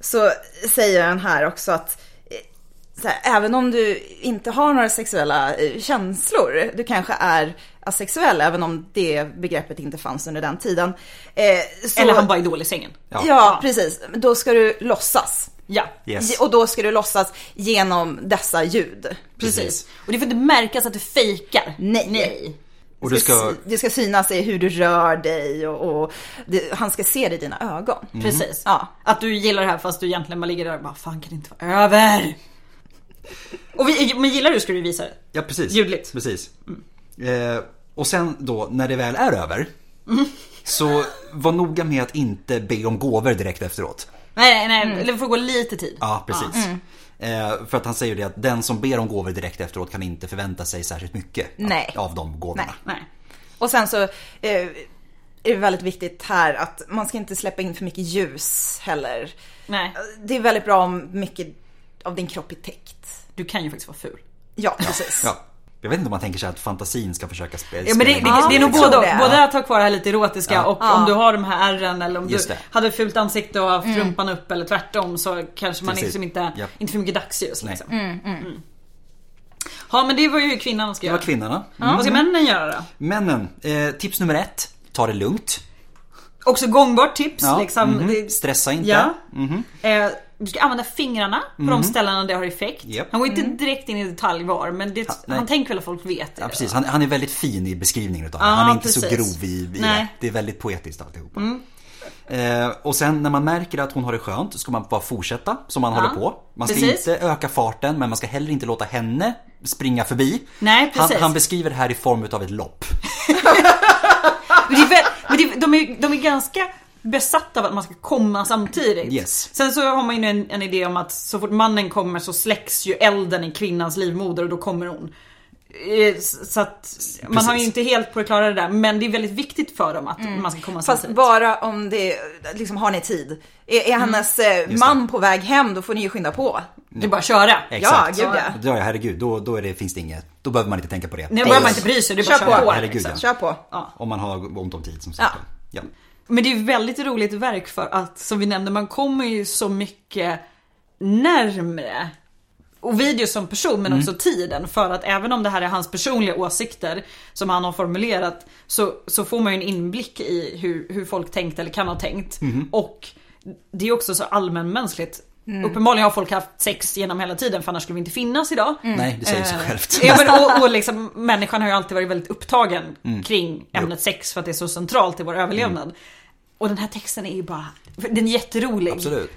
S3: så säger han här också att eh, så här, även om du inte har några sexuella eh, känslor, du kanske är asexuell, även om det begreppet inte fanns under den tiden. eh, så-
S2: Eller han bara är dålig i sängen.
S1: Ja.
S3: Ja, precis. Då ska du låtsas.
S2: Ja.
S1: Yes.
S3: Och då ska du låtsas genom dessa ljud.
S1: Precis.
S2: Precis. Och det får inte märkas att du fejkar.
S3: Nej.
S2: Nej.
S1: Och du ska...
S3: sy- det ska synas i hur du rör dig och, och det, han ska se det i dina ögon.
S1: Mm.
S2: Precis.
S3: Ja.
S2: Att du gillar det här fast du egentligen bara ligger där och bara fan kan det inte vara över? Och vi, men gillar du ska du visa det.
S1: Ja, precis.
S2: Ljudligt.
S1: Precis. Eh, och sen då, när det väl är över, så var noga med att inte be om gåvor direkt efteråt.
S2: Nej nej nej, eller det får gå lite tid.
S1: Ja, precis.
S2: Mm.
S1: Eh, för att han säger ju det att den som ber om gåvor direkt efteråt kan inte förvänta sig särskilt mycket
S3: Nej.
S1: Av, av de gåvorna.
S3: Nej.
S2: Nej.
S3: Och sen så eh, är det väldigt viktigt här att man ska inte släppa in för mycket ljus heller.
S2: Nej.
S3: Det är väldigt bra om mycket av din kropp är täckt.
S2: Du kan ju faktiskt vara ful.
S3: Ja, precis.
S1: Ja. Jag vet inte om man tänker sig att fantasin ska försöka spe- spela
S2: Ja men det, det, det är nog
S3: jag tror
S2: både och.
S3: det.
S2: Både att ha kvar det här lite erotiska
S1: Ja.
S2: och om du har de här ärren eller om du
S1: Just det.
S2: hade fult ansikte och haft rumpan upp eller tvärtom så kanske man
S1: Precis.
S2: liksom inte,
S1: Japp.
S2: inte för mycket dagsljus.
S1: Nej.
S2: Liksom. Mm. Ja men det var ju kvinnan ska
S1: Det
S2: göra. Mm.
S1: var kvinnorna.
S2: Vad ska männen göra då?
S1: Männen, eh, tips nummer ett. Ta det lugnt.
S2: Också gångbart tips. Liksom.
S1: mhm.
S2: Det-
S1: Stressa inte.
S2: Ja. Mm-hmm. Eh, du ska använda fingrarna på de ställena där det har effekt.
S1: Japp.
S2: Han går inte direkt in i detalj var men det,
S1: nej.
S2: han tänker väl att folk vet det. liksom.
S1: Ja, precis. Han, han är väldigt fin i beskrivningen utav det.
S2: Ja,
S1: Han är inte så
S2: precis.
S1: grov i, i
S2: Nej. Mm.
S1: det. Det är väldigt poetiskt alltihopa. Eh, och sen när man märker att hon har det skönt ska man bara fortsätta som man håller på. Man ska
S2: precis.
S1: inte öka farten men man ska heller inte låta henne springa förbi.
S2: Nej,
S1: han,
S2: precis.
S1: han beskriver det här i form utav ett lopp.
S2: Men det är väl, men det, de, är, de är ganska besatta av att man ska komma samtidigt.
S1: Yes.
S2: Sen så har man ju en, en idé om att så fort mannen kommer så släcks ju elden i kvinnans livmoder och då kommer hon. Eh, s- Så att man har ju
S1: Precis.
S2: inte helt på det klara det där men det är väldigt viktigt för dem att man ska komma
S3: Mm. Fast
S2: samtidigt.
S3: bara om det, liksom har ni tid? Är,
S1: Mm.
S3: är hennes eh, man på väg hem, då får ni ju skynda på.
S2: Det är bara att köra.
S1: Exakt.
S3: Ja, gud ja.
S1: ja herregud, då, då är det, finns det inget. Då behöver man inte tänka på det.
S2: Nu behöver man inte bry sig, det är bara
S3: Kör
S2: att köra
S3: på.
S2: på.
S1: Herregud,
S2: liksom.
S1: ja.
S3: Kör på.
S1: Om man har ont om tid som sagt. Ja.
S2: Men det är ju väldigt roligt verk för att som vi nämnde man kommer ju så mycket närmre och video som person men också tiden för att även om det här är hans personliga åsikter som han har formulerat så, så får man ju en inblick i hur, hur folk tänkt eller kan ha tänkt. Och det är också så allmänmänskligt. Uppenbarligen har folk haft sex genom hela tiden för annars skulle vi inte finnas idag.
S1: Nej, det säger sig självt.
S2: Eh, Ja, men, och, och liksom, människan har ju alltid varit väldigt upptagen
S1: Mm.
S2: kring ämnet sex för att det är så centralt i vår överlevnad. Och den här texten är ju bara, den är jätterolig.
S1: Absolut.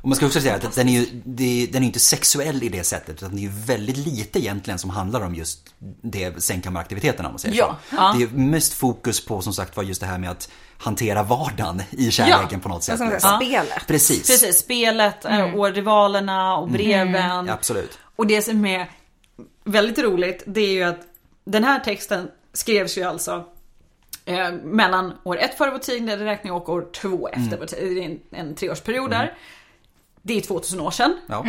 S1: Och man ska också säga att den är ju det- den är ju inte sexuell i det sättet utan det är ju väldigt lite egentligen som handlar om just det sängkammaraktiviteterna om man säger
S2: Ja.
S1: så.
S2: Ja.
S1: Det är ju mest fokus på som sagt var just det här med att hantera vardagen i kärleken
S2: Ja.
S1: på något sätt.
S3: Som
S1: liksom.
S3: ja. spelet.
S1: Precis.
S2: Precis, spelet eh, och rivalerna
S1: Mm.
S2: och breven.
S1: Absolut.
S2: Och det som är väldigt roligt det är ju att den här texten skrevs ju alltså eh, mellan år ett före vår tideräkning och år två efter
S1: Mm.
S2: vår tid. Det är en, en treårsperiod där. Det är 2000 år sedan.
S1: Ja.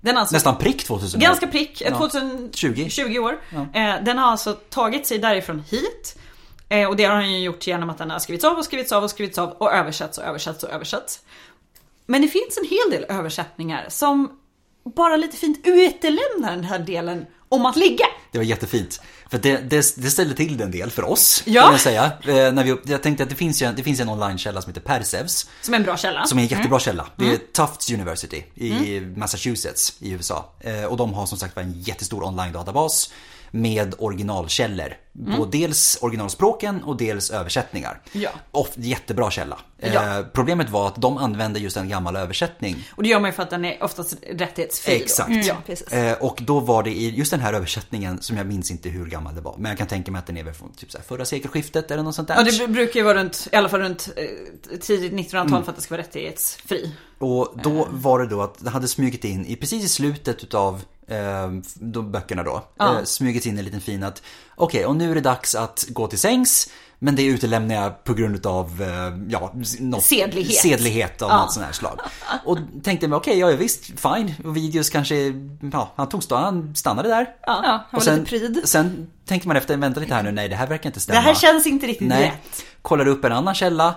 S2: Den har alltså
S1: Nästan prick 2000 år.
S2: Ganska prick,
S1: Ja.
S2: 2020
S1: 20.
S2: 20 år. Eh, Den har alltså tagit sig därifrån hit. Eh, Och det har han ju gjort genom att den har skrivits av och skrivits av och skrivits av och översatts och översatts och översatts. Men det finns en hel del översättningar som bara lite fint utelämnar den här delen om att ligga.
S1: Det var jättefint. För det, det, det ställde till det en del för oss.
S2: Ja.
S1: Kan jag, säga. Eh, när vi, upp- jag tänkte att det finns ju en, det finns en onlinekälla som heter Persevs.
S2: Som är en bra källa.
S1: Som är en jättebra källa. Det
S2: Mm.
S1: är Tufts University i Massachusetts i USA. Eh, Och de har som sagt var en jättestor online-databas med originalkällor. På dels originalspråken och dels översättningar.
S2: Mm. Ja.
S1: Och jättebra källa. Eh,
S2: Ja.
S1: Problemet var att de använde just en gammal översättning.
S2: Och det gör man ju för att den är oftast rättighetsfri. då.
S1: Exakt.
S2: Mm, Ja,
S3: precis.
S1: Eh, Och då var det i just den här översättningen som jag minns inte hur gammal det var. Men jag kan tänka mig att den är väl från typ så här förra sekelskiftet eller något sånt där.
S2: Ja, det brukar ju vara runt, i alla fall runt eh, tidigt 1900-tal
S1: Mm.
S2: för att det ska vara rättighetsfri.
S1: Och då
S3: Ehm.
S1: var det då att det hade smugit in, i precis i slutet utav eh, de böckerna då,
S2: Ja.
S1: eh, smugit in en liten fin att okej, och nu är det dags att gå till sängs. Men det utelämnar jag på grund utav, eh, ja, s- något,
S2: Sedlighet.
S1: sedlighet av något sån här slag. Och tänkte mig, okej, ja, ja visst, fine. Och videos kanske, ja, han tog stå, han stannade där.
S3: Ja, han var
S1: och sen,
S3: lite pryd.
S1: sen tänker man efter, vänta lite här nu, nej det här verkar inte stämma.
S2: Det här känns inte riktigt
S1: Nej.
S2: rätt.
S1: Kollar upp en annan källa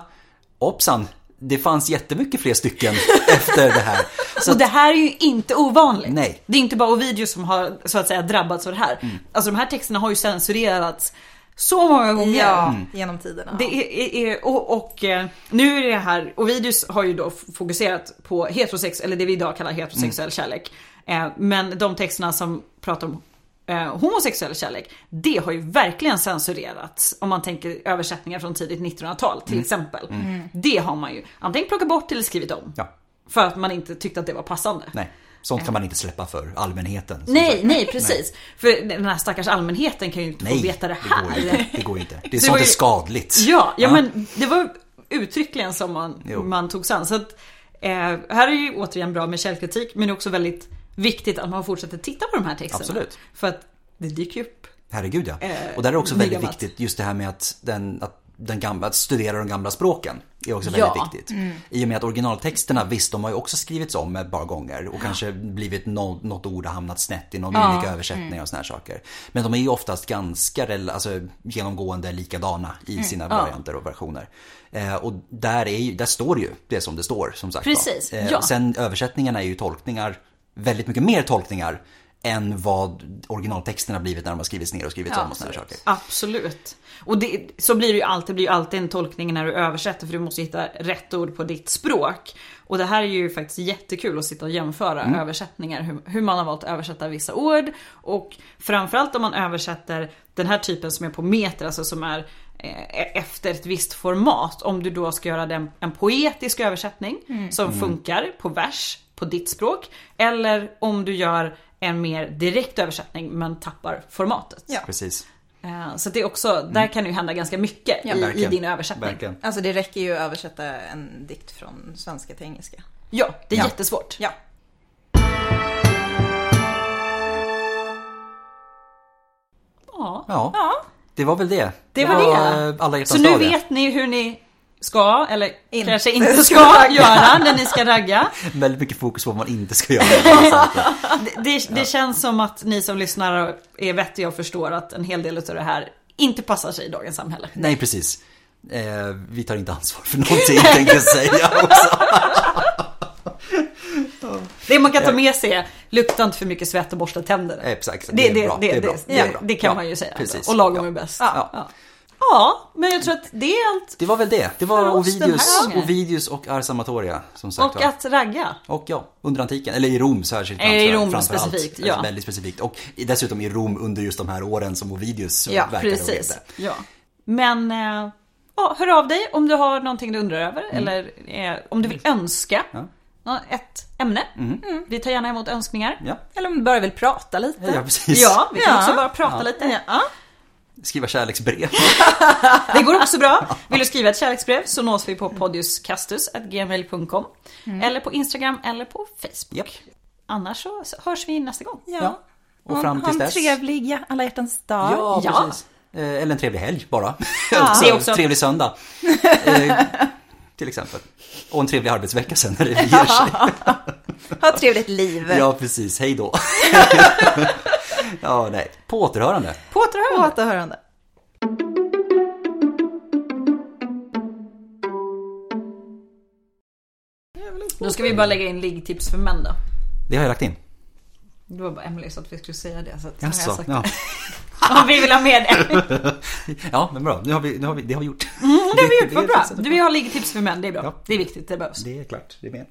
S1: hoppsan, det fanns jättemycket fler stycken efter det här. Så
S2: och det här är ju inte ovanligt.
S1: Nej. Mm.
S2: Det är inte bara Ovidio som har så att säga drabbats av det här. Alltså de här texterna har ju censurerats så många gånger.
S3: Ja,
S1: Mm.
S3: genom tiderna.
S2: Det är, är, är, och, och eh, nu är det här, Ovidius har ju då f- fokuserat på heterosex, eller det vi idag kallar heterosexuell
S1: Mm.
S2: kärlek. Eh, men de texterna som pratar om eh, homosexuell kärlek, det har ju verkligen censurerats. Om man tänker översättningar från tidigt 1900-tal
S1: Mm.
S2: till exempel. Det har man ju antingen plockat bort eller skrivit om.
S1: Ja,
S2: För att man inte tyckte att det var passande.
S1: nej. Sånt kan man inte släppa för allmänheten. som
S2: Nej,
S1: sagt.
S2: nej precis. För den här stackars allmänheten kan ju inte
S1: Nej,
S2: få veta det
S1: Det
S2: här.
S1: går, ju inte. det går ju inte. Det är
S2: Det
S1: sånt
S2: var
S1: är
S2: ju-
S1: skadligt.
S2: Ja, ja men det var uttryckligen som man,
S1: Jo.
S2: man tog sig an. Så att, eh, här är ju återigen bra med källkritik men det är också väldigt viktigt att man fortsätter titta på de här texterna.
S1: Absolut.
S2: För att det dyker ju upp.
S1: Herregud ja.
S2: Eh,
S1: Och där är också
S2: nya
S1: väldigt
S2: mat.
S1: viktigt just det här med att, den, att, den gamla, att studera de gamla språken. är också
S2: Ja. Mm.
S1: väldigt viktigt. I och med att originaltexterna, visst de har ju också skrivits om ett par gånger och kanske blivit no, något ord har hamnat snett i någon olika översättningar
S2: Mm.
S1: och såna här saker. Men de är ju oftast ganska rel- alltså, genomgående likadana
S2: Mm.
S1: i sina varianter och versioner. Eh, och där, är ju, där står ju det som det står som sagt var.
S2: Precis,
S1: Eh,
S2: ja.
S1: Sen översättningarna är ju tolkningar, väldigt mycket mer tolkningar än vad originaltexterna blivit när de har skrivits ner och skrivits om och såna här saker.
S2: Absolut. Och det, så blir det ju alltid, det blir ju alltid en tolkning när du översätter för du måste hitta rätt ord på ditt språk. Och det här är ju faktiskt jättekul att sitta och jämföra översättningar, hur, hur man har valt att översätta vissa ord. Och framförallt om man översätter den här typen som är på meter, alltså som är eh, efter ett visst format. Om du då ska göra den, en poetisk översättning som funkar på vers, på ditt språk. Eller om du gör en mer direkt översättning men tappar formatet.
S3: Ja.
S1: Precis.
S2: Eh, Så det är också, där kan det ju hända ganska mycket i, i
S1: Mm. Verkligen.
S2: din översättning.
S1: Verkligen.
S3: Alltså det räcker ju att översätta en dikt från svenska till engelska.
S2: Ja, det är
S1: Ja.
S2: jättesvårt.
S3: Ja.
S2: Ja.
S1: Ja,
S3: Ja.
S1: det var väl det.
S2: Det var det.
S1: Alla hjärtans
S2: Så nu
S1: dag, det.
S2: vet ni hur ni ska, eller
S3: Inte
S2: kanske inte
S3: ska
S2: ska,
S3: ragga.
S2: göra när ni ska ragga.
S1: Väldigt mycket fokus på vad man inte ska göra.
S2: Det, det, det känns som att ni som lyssnar är vettiga och förstår att en hel del av det här inte passar sig i dagens samhälle.
S1: Nej, precis. Eh, vi tar inte ansvar för någonting tänkte jag säga också.
S2: Det man kan ta med sig är, lukta inte för mycket svett och borsta tänderna.
S1: Exakt,
S2: det,
S1: det är bra. Det är bra.
S2: Det, det, det kan
S1: Ja,
S2: man ju säga.
S1: precis.
S2: Och lagom
S1: Ja.
S2: är bäst.
S1: Ja.
S2: Ja. ja, men jag tror att det är allt.
S1: Det var väl det. Det var
S2: För oss den här
S1: Ovidius,
S2: gången.
S1: Ovidius och Ars Amatoria som sagt
S2: Och
S1: var.
S2: att ragga.
S1: Och ja, under antiken, eller i Rom särskilt.
S2: Eh, i
S1: framför-
S2: Rom
S1: framför allt.
S2: specifikt, ja.
S1: Väldigt specifikt. Och dessutom i Rom under just de här åren som Ovidius eh,
S3: Ja,
S1: verkade och
S2: Precis.
S1: levde.
S2: Ja. Men eh, ja, hör av dig om du har någonting du undrar
S1: Mm.
S2: över eller eh, om du vill önska nå- ett ämne. Mm. Vi tar gärna emot önskningar.
S1: Ja,
S3: Eller om du bara vill prata lite.
S1: ja precis.
S2: Ja, vi kan
S3: Ja.
S2: också bara prata lite.
S1: Skriva kärleksbrev.
S2: Det går också bra. Vill du skriva ett kärleksbrev så nås vi på
S1: Mm.
S2: podiuscastus.gmail.com Eller på Instagram eller på Facebook.
S1: Japp.
S2: Annars så hörs vi nästa gång.
S1: Ja. Och
S3: Ha-
S1: fram
S3: ha
S1: tills
S3: en
S1: dess.
S3: trevlig ja, alla hjärtans dag.
S1: Ja,
S2: Ja.
S1: precis. Eh, Eller en trevlig helg bara.
S2: Det
S1: också,
S2: är också-
S1: Trevlig söndag. Eh, till exempel. Och en trevlig arbetsvecka sen när det ger sig.
S3: Ha ett trevligt liv.
S1: Ja, precis. Hej då. ja, nej. På återhörande.
S2: På återhörande.
S3: På återhörande.
S2: Då ska vi bara lägga in liggtips för män då.
S1: Det har jag lagt in.
S2: Det var bara Emelie så att vi skulle säga det. Så att nu har jag
S1: Jaså,
S2: sagt
S1: ja.
S2: det. Om vi vill ha med det.
S1: ja, men bra. Nu har vi, nu har vi, det har vi gjort.
S2: Mm, Det har vi gjort,
S1: Det-
S2: vad
S1: det-
S2: bra. Du, vi har liggtips för män, det är bra.
S1: Ja.
S2: Det är viktigt, det behövs.
S1: Det är klart, det är med.